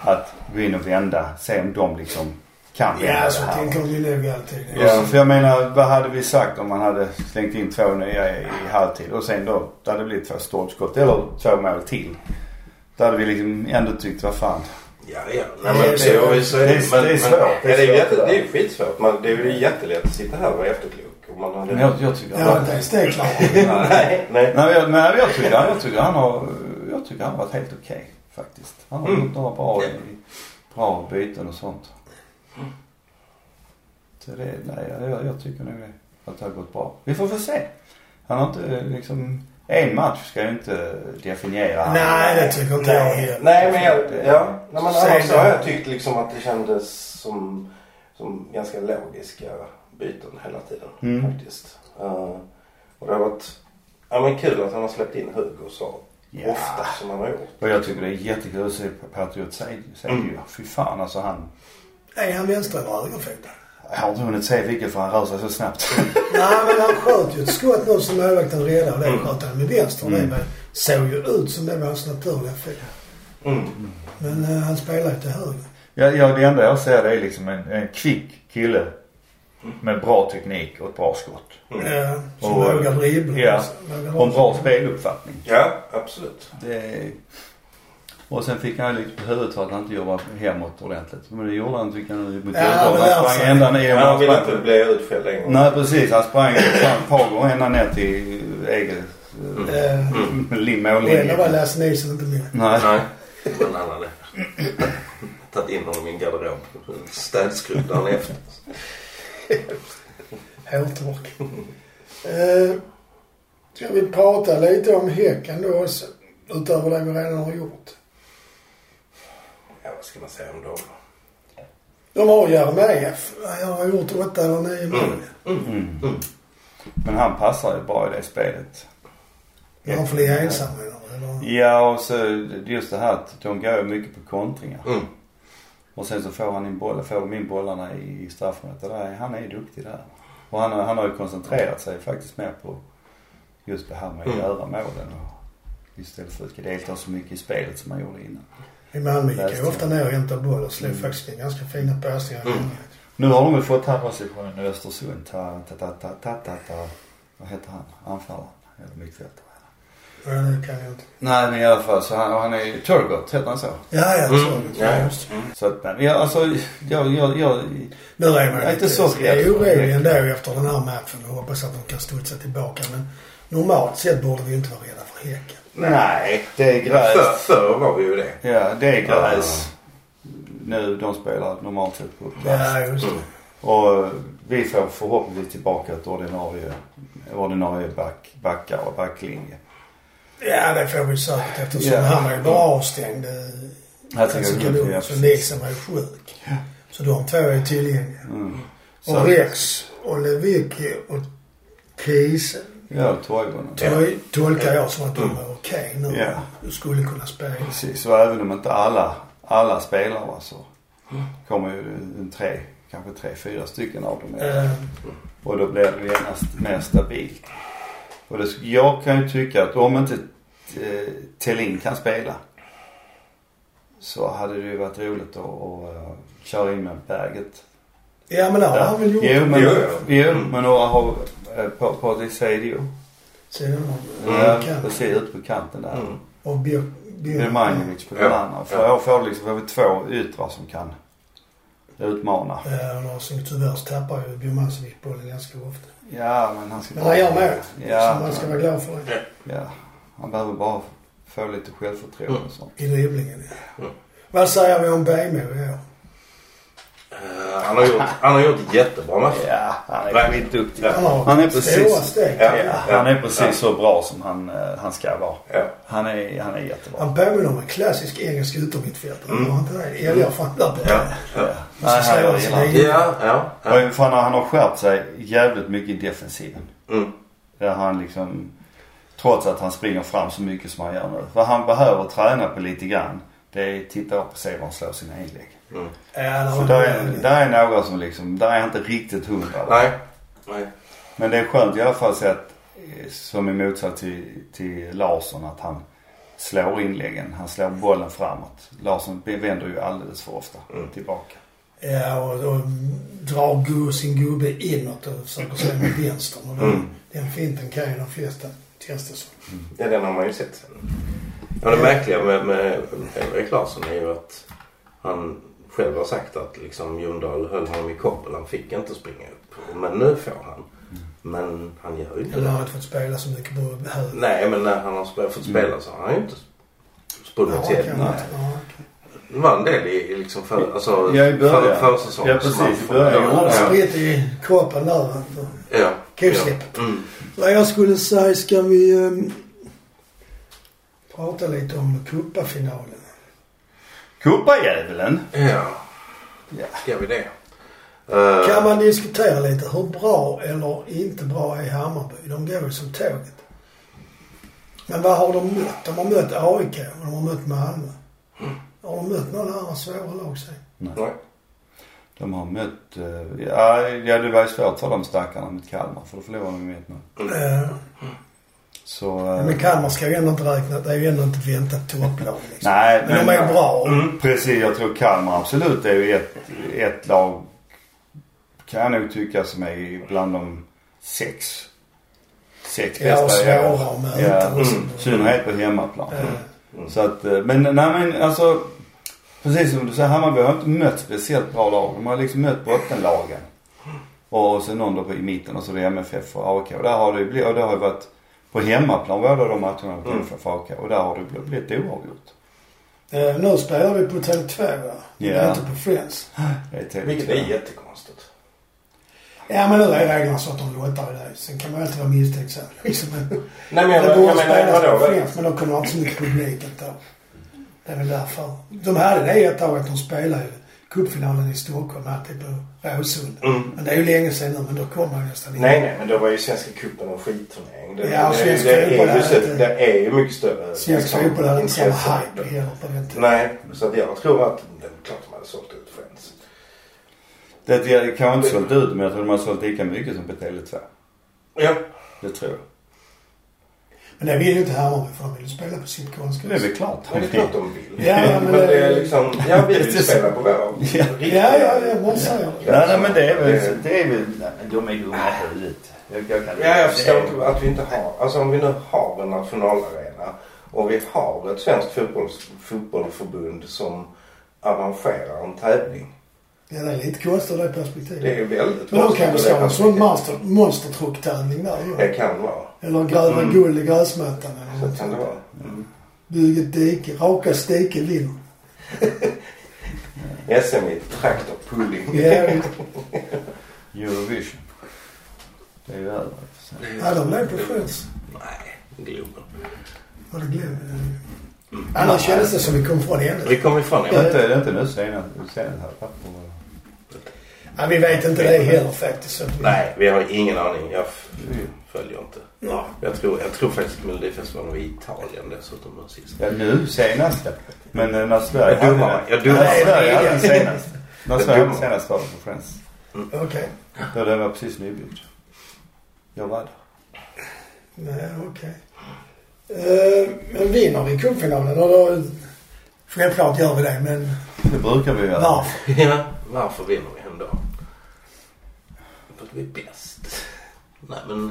C: att gå in och vända. Se om de liksom kan vända
A: Ja, så
C: det här.
A: tänker vi nog alltid.
C: Ja. Alltså, för jag menar, vad hade vi sagt om man hade slängt in två nya i, i halvtid och sen då, det hade blivit två stolpskott eller två mål till. Då hade vi liksom ändå tyckt, vad fan.
B: ja, ja. Nej, men,
A: Det är
B: så- så är
C: det är-
B: men-
C: det är
B: men-
C: svårt.
B: ja, Det är
C: Det är
B: jätte-
C: svårt.
B: det är ju skitsvårt. Man, det är ju jättelätt att sitta här och vara efterklok. Och man
C: Men
B: hade,
C: jag, jag tycker
A: Jag var
C: han...
A: inte ens det klar.
B: nej, nej.
C: Nej, men jag, men jag tycker han, jag tycker han har, jag tycker han har varit helt okej faktiskt. Han har
B: Mm.
C: gjort några bra, bra byten och sånt. Så det, nej, jag- jag, jag tycker nog det. Att det har gått bra. Vi får väl se. Han har inte liksom, en match ska ju inte definiera
A: Nej, det tycker inte jag
B: Nej,
A: heller.
B: nej men jag, ja. Nej, men
A: Säg
B: annars
A: det.
B: så har jag tyckt liksom att det kändes som, som ganska logiska byten hela tiden
C: Mm.
B: faktiskt. Eh, och det har varit ja, men kul att han har släppt in Hugo så
C: Ja.
B: ofta som han har gjort.
C: Och jag tycker det är jättekul att se Patriot Seidjo. Mm. Fy fan alltså han.
A: Är han vänster eller högerfotad?
C: Jag har inte hunnit se vilket för han rör sig så snabbt.
A: Nej, men han sköt ju ett skott nu som målvakten räddade och
C: Mm.
A: det sköt han med vänster. Det var- såg ju ut som det var hans naturliga fel.
B: Mm.
A: Men eh, han spelar ju till höger.
C: ja, ja, det enda jag ser det är liksom en, en kvick kille. Med bra teknik och ett bra skott.
B: Mm.
A: Ja, som
C: Mm. Och- eh,
A: vågar dribbla.
C: ja.
A: Vågar
C: Och en bra
A: avsluta.
C: speluppfattning.
B: Ja, absolut.
C: Det är... Och sen fick han lite på huvudet för att han inte jobbade hemåt ordentligt. Men det gjorde han tycker jag nu mot
A: Ja,
C: Djurgården.
A: det är
C: Han
A: alltså-
C: sprang ända ner.
B: Han
C: Han
B: vill
C: sprang-
B: inte bli utskälld en gång.
C: Nej precis. Han sprang ett par gånger ända ner till eget... Mm.
A: Eh, Och ändå var
C: Mållinjen.
A: Lasse Nilsson inte med.
C: Nej.
B: Nej, men han hade tagit in honom i en garderob. Städskrubb dagen efter.
A: Hårtork. Eh, Ska vi prata lite om Häcken då också? Utöver det vi redan har gjort.
B: Ja, vad ska man säga om dem?
A: De har Jeremejeff. Han har gjort åtta eller nio mål.
C: Mm. Men han passar ju bra i det spelet.
A: Men han får ligga ensam med dem. eller?
C: Ja och så just det här att de går ju mycket på kontringar.
B: Mm.
C: Och sen så får han in bollen, får de in bollarna i straffområdet. Och där är- Han är duktig där. Och han, har- han har ju koncentrerat sig faktiskt mer på just det här med att
B: Mm.
C: göra målen. Och istället för att delta så mycket i spelet som man gjorde innan.
A: I Malmö gick jag
C: Läste. Mm.
A: ofta ner och hämtade boll och slog faktiskt in ganska fina passningar.
B: Mm.
C: Nu har de väl fått terrorsektionen i Östersund. Ta, ta, ta, ta, ta, ta, ta. Vad heter han? Anfallaren? Eller mittfältaren?
A: Ja, det kan jag inte.
C: Nej men i alla fall så han, och han är ju Turgot, heter han så?
A: Ja, ja, så.
B: Mm. Ja, ja. Mm.
C: Så att, nej, men jag, alltså, jag, jag, jag,
A: Nu är man
C: Jag är inte så rädd för
A: orolig
C: det.
A: ändå efter den här matchen och hoppas att de kan studsa tillbaka. Men normalt sett borde vi inte vara rädda för Häcken.
C: nej, det är
B: Förr,
C: gräs.
B: förr var vi ju det.
C: Ja, det är gräs. Nu, de spelar normalt sett på gräs.
A: Ja, just det.
B: Mm.
C: Och vi får förhoppningsvis tillbaka ett ordinarie, ordinarie back, backar och backlinje.
A: Ja, det får vi säkert eftersom
C: Ja.
A: han var ju bara avstängd. eh,
C: Här tycker
A: Alltså
C: jag det är
A: Kalou,
C: precis.
A: så Nilsson var ju sjuk. Så de två är tillgängliga.
C: Mm. Så-
A: Och Rex och Lewicki och Kiese
C: Ja, Toivonen.
A: tol- tolkar jag som att de är okej nu.
C: Ja.
A: Du skulle kunna spela.
C: Precis, och även om inte alla, alla spelar va, så
A: Mm.
C: kommer ju en tre, kanske tre, fyra stycken av dem.
A: Eh,
C: Och då blir det ju genast mer stabilt. Och det, jag kan ju tycka att om inte eh, Thelin kan spela så hade det ju varit roligt att, att eh, köra in med Berget.
A: Ja, men det Mm. har han väl gjort.
C: Jo, men,
B: Jo,
C: jo,
B: jo.
C: men att ha eh, på, på Desadio.
A: Sen
C: Ja,
A: Mm. kan-
C: precis, ute på kanten där.
B: Mm.
A: Och Björk... Björk-
C: Birmanovic på den
B: Ja,
C: andra. För
B: ja.
C: jag får liksom, får vi två yttrar som kan utmana.
A: Ja, Larsson tyvärr så tappar ju Birmancevic bollen ganska ofta.
C: Ja, men han ska...
A: Men han gör mål.
C: Ja,
A: Så man ska vara glad för det.
C: ja. Han behöver bara få lite självförtroende och sånt.
A: I dribblingen.
B: Mm.
A: Vad säger vi om Bejmo i år?
B: Eh, han, har gjort, han har gjort jättebra matcher.
C: Ja, han är
B: Nej.
C: skitduktig.
A: Han har
C: Han är
A: stora
C: precis...
A: steg.
C: Ja, han är precis så bra som han, eh, han ska vara.
B: Ja.
C: Han är, han är jättebra.
A: Han påminner om en klassisk engelsk yttermittfältare.
B: Mm.
A: Var han inte det? Älgar fan där borta.
B: Ja. Ja.
A: Och så
C: Nej,
A: säger
C: han
A: han
C: är
A: sina
C: jävla-
A: egna.
B: Ja, ja, ja.
C: Och fan, han har skärpt sig jävligt mycket i defensiven.
B: Mm.
C: Där han liksom, trots att han springer fram så mycket som han gör nu. Vad han behöver träna på lite grann, det är titta upp och se var han slår sina inlägg.
A: Ja, där
C: För
A: har
C: där
A: han
C: är,
A: en-
C: där är några som liksom, där är han inte riktigt hundra. va?
B: Nej. Nej.
C: Men det är skönt i alla fall att se att, eh, som i motsats till, till Larsson, att han slår inläggen. Han slår bollen framåt. Larsson vänder ju alldeles för ofta tillbaka.
A: Ja, och, och drar gu- sin gubbe inåt och försöker slå med vänstern. Och den,
B: Mm.
A: den finten kan ju de flesta, känns det som.
B: Ja, den har man ju sett. Ja, det märkliga med, med Erik Larsson är ju att han själv har sagt att liksom Ljungdahl höll honom i koppel. Han fick inte springa upp. Men nu får han. Men han gör ju inte
A: Eller har
B: det.
A: inte fått spela så mycket på höger.
B: Nej, men när han har sp- fått spela så har han ju inte spunnit till.
A: kan
B: det.
A: inte. Ja, okej.
B: Det var en del i, i liksom för, alltså,
C: Ja, i början.
B: för, försäsongen.
C: Ja, precis,
B: som han
C: i
B: får-
C: början.
A: Han har
B: Ja,
A: spritt i kroppen där. va?
B: ja.
A: Kuslipp.
B: Ja. Mm.
A: Vad jag skulle säga, ska vi ehm, prata lite om cupafinalen?
C: Kuppajävulen!
B: ja,
C: Ja.
B: ska vi det? Eh,
A: Kan man diskutera lite hur bra eller inte bra är Hammarby? De går ju som tåget. Men vad har de mött? De har mött AIK och de har mött Malmö. Har de mött några andra svåra lag sen?
B: Nej.
C: De har mött, eh, ja, ja det var ju svårt för de stackarna mot Kalmar för då förlorade de med 1-0.
A: Eh,
C: Så, eh,
A: men Kalmar ska ju ändå inte räkna. Det är ju ändå inte ett väntat topplag liksom.
C: nej
A: Men de är bra.
C: Mm, precis, jag tror Kalmar absolut det är ju ett, ett lag kan jag nog tycka som är bland de sex, sex
A: Ja, och
C: bästa i år.
A: svåra att möta
C: Ja,
A: och så.
C: mm, i synnerhet på hemmaplan.
A: Eh,
C: Så att, eh, men nej men alltså precis som du säger Hammarby har inte mött speciellt bra lag. De har liksom mött bottenlagen. Och sen någon då på, i mitten och så är det MFF och AIK. Och där har det ju blivit, och det har ju varit på hemmaplan båda de matcherna mot MFF och AIK. Och där har det bl- blivit oavgjort.
A: eh, nu spelar vi på Tele2 va?
C: Ja.
A: Inte på Friends.
C: Det är TV2.
B: Vilket är jättekonstigt.
A: Ja men nu är reglerna så att de lottar i det. Sen kan man ju alltid vara misstänksam liksom. Men-
B: Nej, men jag,
A: Det
B: jag,
A: borde
B: menar,
A: spelas på
B: vadå?
A: Friends, men de kommer inte så mycket publik ett tag. Det är väl därför. De hade det ett tag att de spelade ju cupfinalen i Stockholm, alltid på Råsunda. Men det är ju länge sedan nu, men då kom man nästan inte.
B: Nej, nej, men då var ju Svenska cupen en skitturnering. Det,
A: Ja, och
B: det,
A: svensk
B: det,
A: fotboll
B: är
A: är
B: just det,
A: inte-
B: det är ju mycket större.
A: Svensk
B: liksom,
A: fotboll hade inte samma
B: intresse.
A: hype heller på den tiden.
B: Nej, så att jag tror att det är klart man hade sålt ut
C: Det jag kanske inte sålt ut men jag tror de har sålt lika mycket som på Tele2.
B: Ja.
C: Det tror jag.
A: Men det vill ju inte Hammarby för de vill ju spela på sitt konstgräs.
C: Det är väl klart.
B: Men det är klart de vill.
A: Ja, ja, men
B: men det
A: det-
B: är liksom, ja vi vill spela på vår.
C: Ja.
A: Ja, ja, ja, man säger det.
C: Ja, nej, men det är väl...
B: Det-
C: Det är väl nej, men de är dumma i huvudet. Jag, jag, kan-
B: Ja, jag förstår
C: det-
B: inte att vi inte har, alltså om vi nu har en nationalarena och vi har ett svenskt fotbolls, fotbollförbund som arrangerar en tävling.
A: Ja, det är lite konstigt ur det perspektivet.
B: Det är väldigt
A: Men de
B: konstigt
A: kan väl
B: att
A: slå
B: det
A: en sån
B: här-
A: monster, monstertrucktävling där ju.
B: Det kan vara.
A: Eller gräva guld i gräsmattan eller
B: Så
A: något sånt
B: kan det
A: där.
B: vara.
A: Bygga ett dike. Raka stike vinner.
B: SM i traktorpulling.
A: Ja,
C: Eurovision. Det är ju över. Så.
A: ja, de blev på sjöss.
B: Nej, Globen.
A: Var det glömt? Annars kändes det som vi kom från ämnet.
B: Vi kom ifrån
C: Det är
B: det.
C: inte, det är inte nu senast. Senast här papper.
A: Ja, vi vet inte det heller faktiskt. så att vi-
B: Nej, vi har ingen aning. Jag f-
C: Mm.
B: följer inte.
A: Ja.
B: Jag tror, jag tror faktiskt att Melodifestivalen var i Italien dessutom den sista.
C: Ja, nu senast ja. Men eh, när Sverige
B: Jag dummar mig.
C: den-
B: Jag dummar
C: När
B: mig.
C: Sverige hade den senast. När
B: Jag
C: Sverige hade
B: dummar.
C: senast var det på Friends.
A: Okej.
C: Då den var precis nybyggd. Jag var där.
A: Nej, okej. Eh, Men vinner vi cupfinalen då, då... Självklart gör vi det, men
C: Det brukar vi göra.
A: varför?
B: Ja, varför vinner vi ändå? För att vi är bäst. Nej men...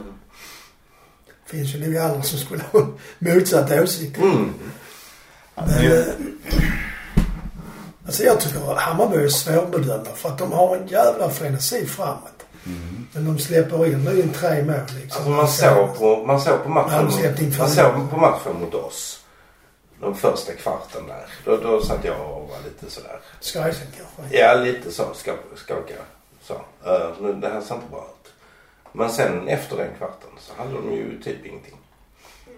A: Det finns ju nog andra som skulle ha motsatt åsikt.
B: Mm.
C: Alltså,
A: Men,
C: ju-
A: eh, alltså jag tycker att Hammarby är svårbedömda för att de har en jävla frenesi framåt. Men de släpper in, det är ju tre mål liksom.
B: Mm. Alltså man såg på, man såg på matchen,
A: Man släppte in
B: mot, man såg på matchen mot oss. Den första kvarten där. Då, då satt jag och var lite sådär.
A: Skrajsen kanske.
B: Ja, lite så ska- skaka. Så. Eh, nu, det här ser inte bra ut. Men sen efter den kvarten så hade de ju typ ingenting.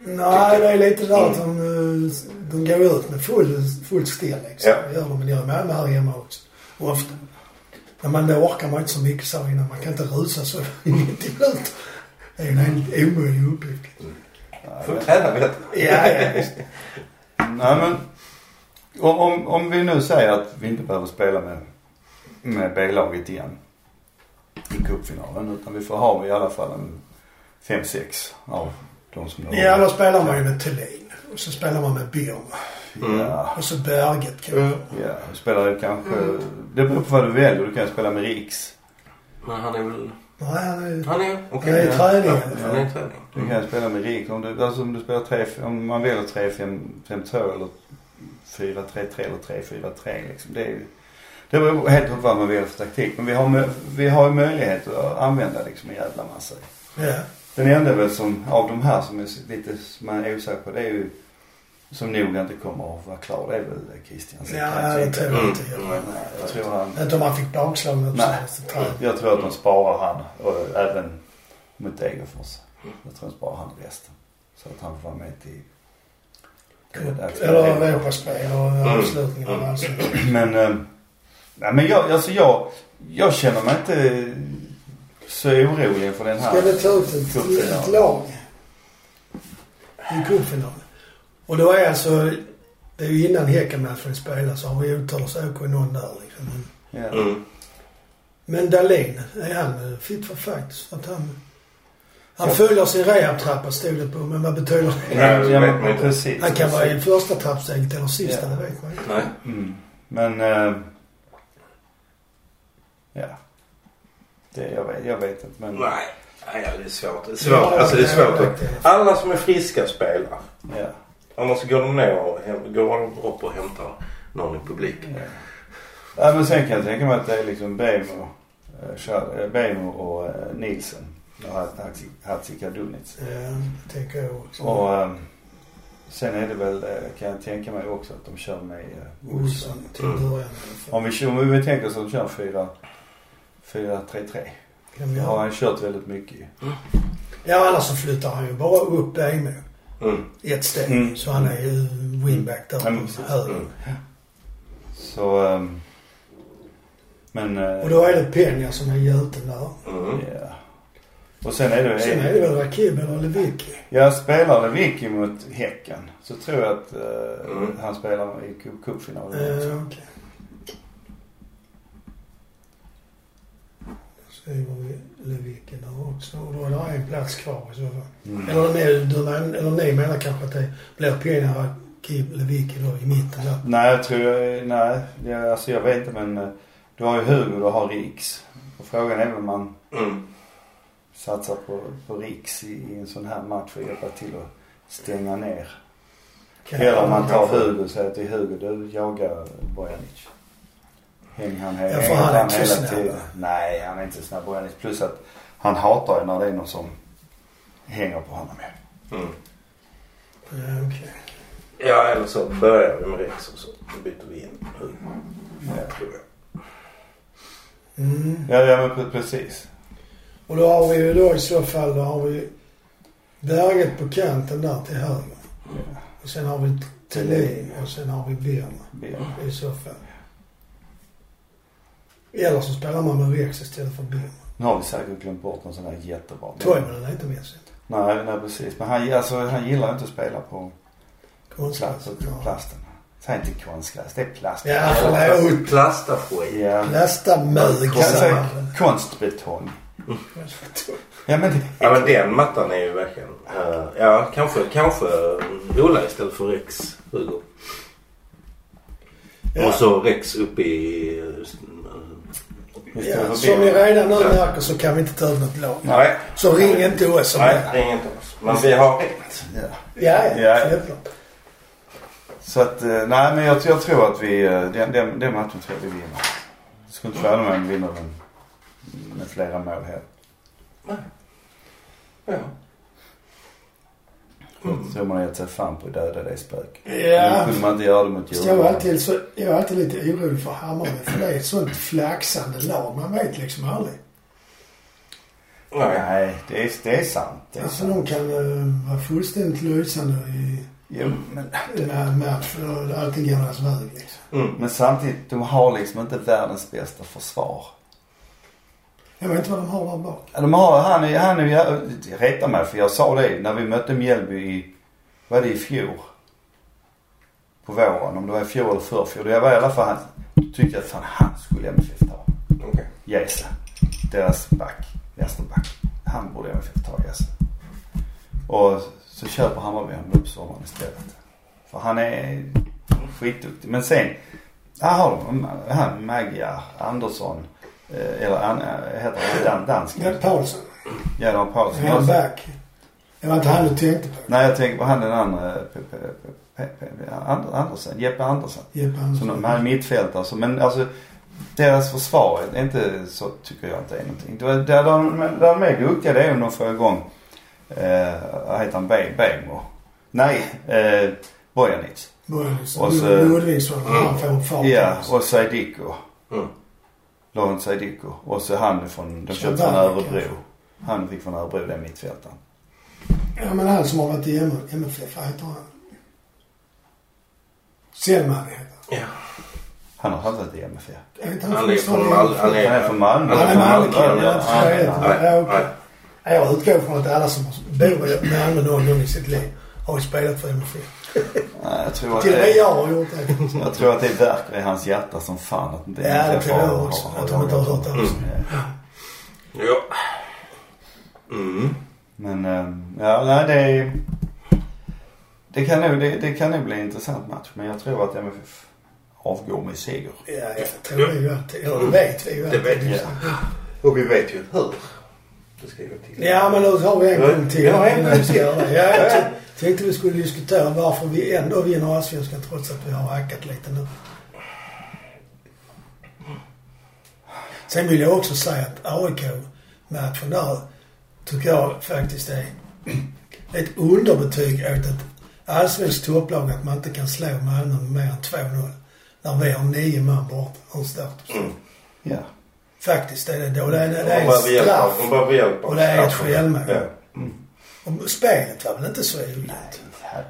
A: Nej, det är lite där att
B: Mm.
A: de, eh, de går ut med full, fullt stil liksom.
B: Ja.
A: Det gör de, men det gör Malmö här hemma också. Och ofta. Men man, då orkar man inte så mycket så innan. Man kan inte rusa så i 90 minuter. Det är ju en helt omöjlig uppgift.
B: Får träna bättre.
A: Ja, ja, visst.
C: Nej men. Om, om, om vi nu säger att vi inte behöver spela med, med B-laget igen i cupfinalen. Utan vi får ha i alla fall en 5-6 av de som har
A: Ja, då spelar man ju med Thelin. Och så spelar man med Birm.
C: Ja,
A: Och så Berget kanske.
C: ja. Spelar kanske...
A: Mm.
C: Det beror på vad du väljer. Du kan spela med Riks.
B: Men han är väl...
A: Nej, han är ju...
B: Han är okej.
A: Han är i träning.
B: Ja, han är i träning.
C: Du kan spela med Riks. Om du, alltså om du spelar 3... Om man väljer 3-5-2 eller 4-3-3 eller 3-4-3 liksom. Det är ju... Det beror helt på vad man väljer för taktik. Men vi har, mö- vi har ju möjlighet att använda liksom en jävla massa.
A: Ja.
C: Den enda väl som, av de här som är lite, man är osäker på, det är ju som nog inte kommer att vara klar. Det är väl Christian
A: Ja, det tror jag inte.
B: Mm.
C: Nej, jag tror han...
A: Inte om han fick bakslag nu på
C: Nej. Mm.
A: senaste träningen.
C: Jag tror att de sparar han och även mot Degerfors. Jag tror de sparar han resten. Så att han får vara med till...
A: Eller Europaspel och
B: Mm.
A: avslutningen av
B: Mm.
A: allsvenskan.
C: Men, eh, nej men jag, alltså jag, jag känner mig inte så orolig för den här.
A: Ska vi ta ut ett,
C: cupfinalen.
A: ett lag i cupfinalen? Och då är alltså... Det är ju innan Häckenmatchen spelas så har vi Otalos AK någon där liksom. Men-
C: Ja.
B: Mm.
A: Men Dahlin, är han eh, fit for fight? För att han... Han följer sin rehabtrappa stod det på, men vad betyder det?
B: Nej, det
C: Ja,
B: Mm. vet man inte.
C: precis.
A: Han kan vara i
C: precis.
A: första trappsteget eller sista,
C: Ja.
A: det vet man inte.
B: Nej.
C: Mm. Men... eh, ja. Det, jag, vet, jag vet inte men...
B: Nej. Nej, det är svårt. Det är svårt.
A: Ja,
B: Alltså det är
A: det är
B: svårt.
A: verkligen.
B: att- Alla som är friska spelar.
C: Ja.
B: Annars går de ner och hem, går de upp och hämtar någon i publiken.
C: Ja, men sen kan jag tänka mig att det är liksom Bejmo, eh, Schad- eh, Bejmo och eh, Nielsen och Hatsi- Hatzikadunic.
A: Ja, det Eh, tänker jag också.
C: Och eh, sen är det väl, eh, kan jag tänka mig också att de kör med eh, Olsson.
A: Olsson till början i alla fall.
C: Om vi, om vi tänker oss att de kör 4 4-3-3.
A: Kan vi
C: Då har
A: ha-
C: han kört väldigt mycket.
A: Ja, annars så flyttar han ju bara upp Bejmo
B: Mm.
A: ett steg.
C: Mm.
A: Så han är ju wingback där
C: Mm.
A: på höger.
B: Mm.
C: Så... eh, Men... eh,
A: Och då är det Peña som är hjälten där.
B: Mm.
C: Ja. Och sen är det...
A: Sen är det väl Rakib eller Lewicki.
C: Jag spelade Vicky mot Häcken. Så tror jag att eh,
B: Mm.
C: han spelar i cup- cupfinalen
A: Eh,
C: också.
A: okej. skriver vi Leviken där också. Och då är det en plats kvar i så fall.
C: Mm.
A: Eller, ni, du, men- eller ni menar kanske att det blir Pienara Kib Levicki då i mitten där.
C: Nej, jag tror... Nej, jag, alltså jag vet inte men... eh, Du har ju Hugo, du har Riks. Och frågan är om man
B: Mm.
C: satsar på, på Riks i, i en sån här match för att hjälpa till att stänga ner. Eller om man tar Hugo och säger till Hugo, du jagar Bojanic. Häng han hela,
A: Ja, för han är inte så snabb, va?
C: Nej, han är inte så snabb Bojanic. Plus att han hatar ju när det är någon som hänger på honom. ju.
B: Mm.
A: Ja, okej.
B: Ja, eller så börjar vi med Rex och så byter vi in Hugo.
C: Ja.
B: tror jag.
A: Mm.
C: Ja, ja men pre- precis.
A: Och då har vi ju då i så fall, då har vi Berget på kanten där till höger.
C: Ja.
A: Och sen har vi Thelin och sen har vi Birma
C: Björn.
A: i så fall. Eller så spelar man med Rex istället för Birma.
C: Nu har vi säkert glömt bort någon sån där jättebra.
A: Toivonen är inte med sig.
C: Nej, nej precis. Men han, alltså, han gillar inte att spela på plast,
A: Konstgräs.
C: på plasten. Säg inte konstgräs, det är plast.
A: Ja, förlåt.
B: Plastaskit.
C: ja.
A: Plastamög
C: Kan jag
A: kallar
C: säga
A: man
C: konstbetong.
A: det.
C: Ja men
B: Ja men den mattan är ju verkligen... eh, ja kanske, kanske Ola istället för Rex Hugo.
A: Ja.
B: Och så Rex upp i... eh,
A: Ja, som ni redan nu märker så kan vi inte ta ut något lag.
B: nej.
A: Så ring inte oss om
B: Nej,
A: det.
B: det är inte oss. Men vi har ett.
C: Ja.
A: Ja, ja.
C: Ja.
A: Självklart.
C: Så att, eh, nej men jag, jag tror att vi, eh, den, den, den matchen tror jag vi vinner. Jag skulle inte förvåna mig om vi vinner den med flera mål här.
B: Ja.
C: Jag tror man har gett sig fan på att döda det spöket.
A: Mm. Ja.
C: Nu kunde man inte göra det mot
A: Så Jag var,
C: Djurgården.
A: alltid, så, jag var alltid lite orolig för Hammarby för det är ett sånt flaxande lag. Man vet liksom aldrig.
B: Nej.
C: Nej, det är, det är sant. Det är
A: Alltså
C: sant.
A: de kan eh, vara fullständigt lysande i
C: Jo, men,
A: den här matchen och allting går deras väg liksom.
B: Mm.
C: men samtidigt, de har liksom inte världens bästa försvar.
A: Jag vet inte vad de har där bak.
C: Ja, De har, han är, han är, jag, rätta mig för jag sa det när vi mötte Mjällby i, vad är det i fjol? På våren, om det var i fjol eller förrfjol. Jag var i alla fall, han, tyckte att fan han skulle MFF ta.
B: Okej.
C: Jesa, deras back, vänsterback. Han borde MFF ta Jesa. Och så köper Hammarby honom på sommaren istället. För han är skitduktig. Men sen, där har de han Magyar Andersson. eh, Eller han, eh, heter han dan- dansk?
A: Det är Paulsen.
C: Ja, de har Paulsson.
A: Han är back. Det var inte han du tänkte på.
C: Nej, jag tänker på han den andra, Pe- Pe- Pe- Pe- Pe- And- Andersen, Jeppe Andersen.
A: Jeppe
C: Som de
A: Andersson.
C: här mittfältare. Alltså, men alltså deras försvar är inte så, tycker jag inte är någonting. Det, där, de, där de är duktiga det är om de får igång, eh, vad heter han, Be- Bejmo? Nej, eh, Bojanic.
A: Börjades.
C: Och så-
A: Ludvigsson. Han får upp farten.
C: Ja, och Seidiko.
B: Mm.
C: Lorentz Seidiko. Och så han från, de
A: Så
C: köpte från
A: Werner
C: Örebro.
A: kanske.
C: Han fick från Örebro, den mittfältaren.
A: Ja men han som har varit i M- MFF. Vad heter han? Selman heter han.
B: Ja.
C: Han har hamnat i MFF.
A: Jag vet inte,
B: Han är
A: fortfarande
B: från
A: i
B: Malmö.
A: MFF?
C: Han är från Malmö.
A: Han är
C: från
A: Malmökille,
C: Ja,
A: jag
C: han är-
A: förstår
C: han är-
A: det.
B: Nej, nej.
A: Jag utgår från att alla som bor i Malmö någon gång i sitt liv har ju spelat för MFF.
C: Nej, Jag tror att
A: Till och
C: det
A: med
C: är,
A: jag har gjort det.
C: jag tror att det verkar i hans hjärta som fan att inte
A: Ja, det
C: MFF
A: tror jag
C: har-
A: också.
C: har-
A: Jag tror inte jag har hört det
C: Mm.
A: också.
C: Ja.
B: Ja. Mm.
C: Men ehm, ja, nej det är, det kan, nog, det, det kan nog bli en intressant match. Men jag tror att MFF avgår med seger.
A: Ja, jag tror vi ju att Eller det vet vi ju att
B: Det vet vi.
C: Ja.
B: Och vi vet ju hur. Det ska jag till.
A: Ja, men nu har vi en gång till.
B: Ja, en
A: innan
B: gång
A: vi ska göra det. Ja, jag t- tänkte vi skulle diskutera varför vi ändå vinner allsvenskan trots att vi har hackat lite nu. Sen vill jag också säga att AIK-matchen där tycker jag faktiskt är ett underbetyg åt ett allsvenskt topplag att man inte kan slå Malmö med mer än 2-0. När vi har nio man borta ur startelvan.
C: Ja.
A: Faktiskt är det då. Det är, det är
B: Hon
A: en
B: behöver hjälp.
A: straff.
B: Hon behöver hjälp.
A: Och det är ett självmål.
B: Ja.
A: Och spelet var väl inte så illa.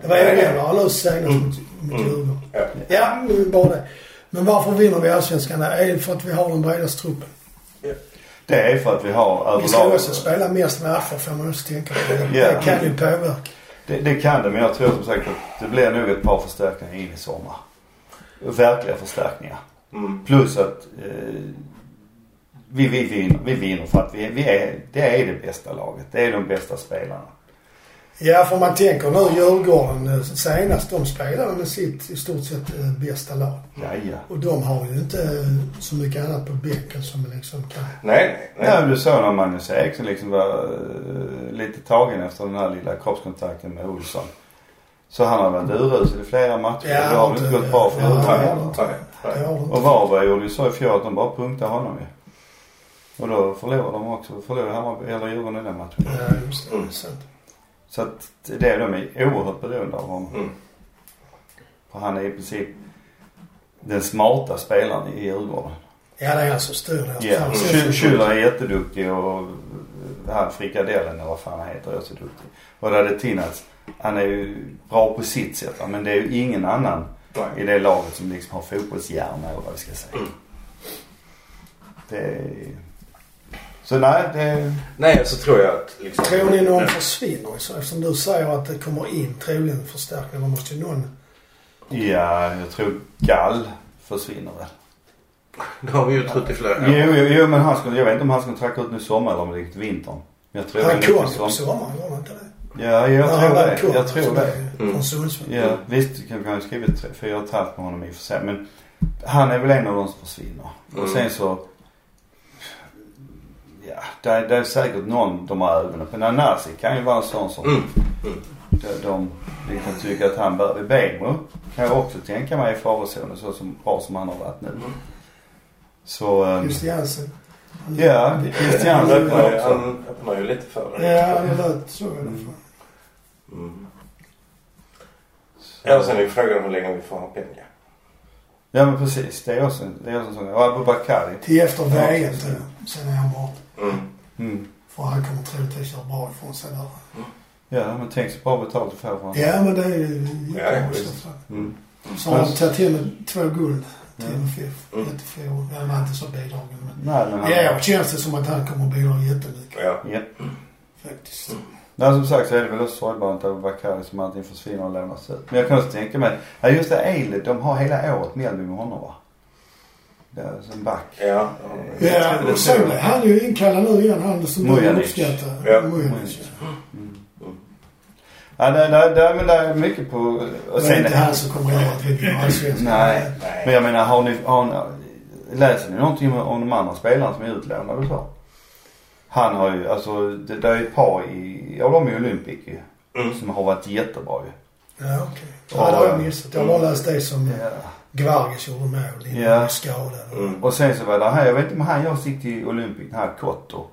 A: Det var
C: Ja.
A: Elmar nu senast
C: Mm.
A: mot- mot Djurgården.
B: Ja.
A: Ja, men bara det. Men varför vinner vi allsvenskan? Det är för att vi har den bredaste truppen.
C: Det är för att vi har
A: Vi ska
C: överlag.
A: också spela mest med AFA får man också tänka på. Det
C: Ja. Mm.
A: det kan ju påverka.
C: Det, det kan det men jag tror som sagt att det blir nog ett par förstärkningar in i sommar. Verkliga förstärkningar.
B: Mm.
C: Plus att eh, Vi, vi, vinner, vi vinner för att vi, vi är, det är det bästa laget. Det är de bästa spelarna.
A: Ja, för man tänker nu Djurgården eh, senast. De spelade med sitt i stort sett eh, bästa lag.
C: Ja, ja.
A: Och de har ju inte eh, så mycket annat på bänken som liksom kan...
B: Nej,
A: Mm.
B: nej.
C: Ja, du såg när Magnus Eriksson liksom var eh, lite tagen efter den här lilla kroppskontakten med Olsson. Så han har varit urusel i flera matcher.
A: Mm. Ja,
C: det har inte
A: inte-
C: gått bra för
A: ja,
C: honom
A: nej,
C: heller.
B: nej, nej.
A: Det har de inte.
C: Och Varberg gjorde ju så i fjol att de bara punktade honom ju. Och då förlorade de också. Förlorade Hammarby, eller Djurgården i den matchen.
A: Ja, just det.
B: Mm.
A: Sant.
C: Så att det är de är oerhört beroende av honom.
B: Mm.
C: För han är i princip den smarta spelaren i Djurgården.
A: Ja, det är alltså han som styr det.
C: Ja, Mm.
A: Fan,
C: Schü-
A: så-
C: Schüller är jätteduktig och han Frikadellen eller vad fan han heter är så duktig. Och där är Tinnas, han är ju bra på sitt sätt va, men det är ju ingen annan i det laget som liksom har fotbollshjärna eller vad vi ska säga.
A: Mm.
C: Det är... Så nej, det...
B: Nej, så tror jag att liksom...
A: Tror ni någon
B: Ja.
A: försvinner så? Eftersom du säger att det kommer in troligen förstärkningar. Då måste ju någon...
C: Ja, jag tror Gall försvinner väl.
B: Det har vi ju trott i flera år.
C: Jo, jo, jo men han skulle, jag vet inte om han skulle tracka ut nu i sommar eller om det gick till vintern. Men jag tror
A: Han
C: det gick
A: kom
C: till
A: ju på
C: sommar.
A: sommaren, gjorde han inte det?
C: Ja, jag
A: Ja,
C: tror
A: han
C: det.
A: kom
C: Jag tror
A: sådär
C: det.
B: Mm.
A: Från Sundsvall.
C: Ja, visst kan vi ha skrivit tre- fyra och ett halvt med honom i och för sig. Men han är väl en av de som försvinner.
B: Mm.
C: Och sen så... Ja, det är, det är säkert någon de har ögonen på. Nanasi kan ju vara en sån som
B: Mm.
C: de, de liksom tycker att han bör... Bemo kan jag också tänka mig i farozonen så som, bra som han har varit nu.
B: Mm.
C: Så... ehm,
A: Just Jansen.
C: ja,
B: Mm.
C: Christian öppnar
B: Han-
C: också.
B: Han öppnar ju lite för det.
A: Ja, det lät så i alla fall.
B: Mm. Ja, och sen är ju frågan hur länge vi får ha pengar.
C: Ja men precis. Det är också en, det är också en sån. Och Abubakari.
A: Till efter VM tror jag. Sen är han bra.
B: Mm.
C: Mm.
A: För han kommer troligtvis göra bra ifrån sig där.
C: Ja men tänk så bra betalt du får för honom.
A: Ja, men det är ju
B: Ja,
A: jättebra i
B: visst.
A: så fall.
C: Mm.
A: Så har han tagit hem två guld till
C: Ja.
A: MFF.
B: Mm.
A: Jättefå. Ja, det var inte så bidragen men.
C: Nej men han...
A: Ja, känns det som att han kommer att bidra jättemycket
B: Ja.
C: Ja.
A: faktiskt.
C: Mm. Nej, som sagt så är det väl också sorgbart att liksom Bakari som antingen försvinner och lånas ut. Men jag kan också tänka mig, ja just det, Eilert, de har hela året Mjällby med honom va? Det är som back.
B: Ja.
A: Ja, och sen blev han ju inkallad nu igen, han som du
C: Mujanic.
A: uppskattar.
B: Ja,
A: Mujanic.
C: Mm. Ja, det, det, det, men det är mycket på... Och
A: Det är
C: sen,
A: inte han som kommer ihåg att vi blir allsvenska.
C: nej, men
B: Nej.
C: jag menar har ni, har ni, läser ni någonting om, om de andra spelarna som är utlånade och så? Han har ju, alltså det, det är ju ett par i, ja de är ju Olympic ju.
B: Mm.
C: Som har varit jättebra ju.
A: Ja, okej. Ja, det har jag missat. Jag har bara läst det som Gvargis gjorde mål innan
C: Ja.
A: han blev skadad.
B: Mm.
C: Och sen så var det här, jag vet inte om han, jag gick till Olympic, den här Kotto.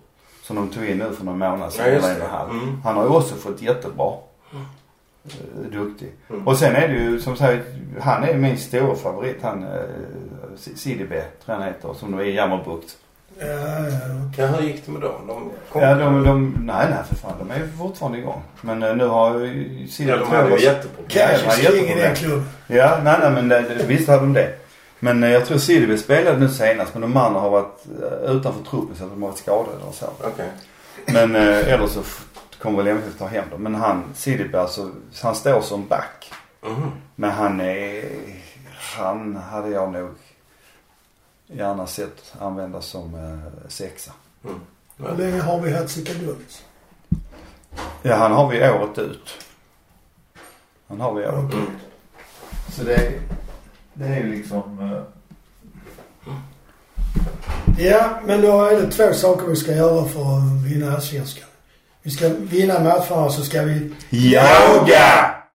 C: Som de tog in nu för någon månad sedan.
B: Ja, just
C: eller en och en
B: det.
C: halv.
B: Mm.
C: Han har ju också fått jättebra. eh, Duktig.
B: Mm.
C: Och sen är det ju som sagt, han är min stora favorit han eh, Si- Sidibe tror jag han heter, som är i Jammerbukt.
A: Ja, ja.
B: Ja, hur gick det med dem? De kom.
C: Ja de, de, nej nej för fan de är ju fortfarande igång. Men eh, nu har ju
B: Ja,
C: Sidibe
B: de hade ju jätteproblem.
C: Ja, det var
A: Cash is king i
C: jätteproblem.
A: den klubben.
C: Ja, nej, nej men det, det, visst hade de det. Men eh, jag tror Sidibe spelade nu senast men de andra har varit eh, utanför truppen så att de har varit skadade och så.
B: Okej.
C: Men eh, eller så f- kommer väl MFF ta hem dem. Men han, Sidibe alltså, han står som back.
B: Mhm.
C: Men han är, han hade jag nog gärna sett användas som eh, sexa.
A: Hur länge har vi Hatzika Gullis?
C: Ja, han har vi året ut. Han har vi året ut.
B: Mm.
D: Så det är, det är ju liksom... eh,
A: Ja, men då är det två saker vi ska göra för att vinna allsvenskan. Vi ska vinna matcherna så ska vi
C: Yoga!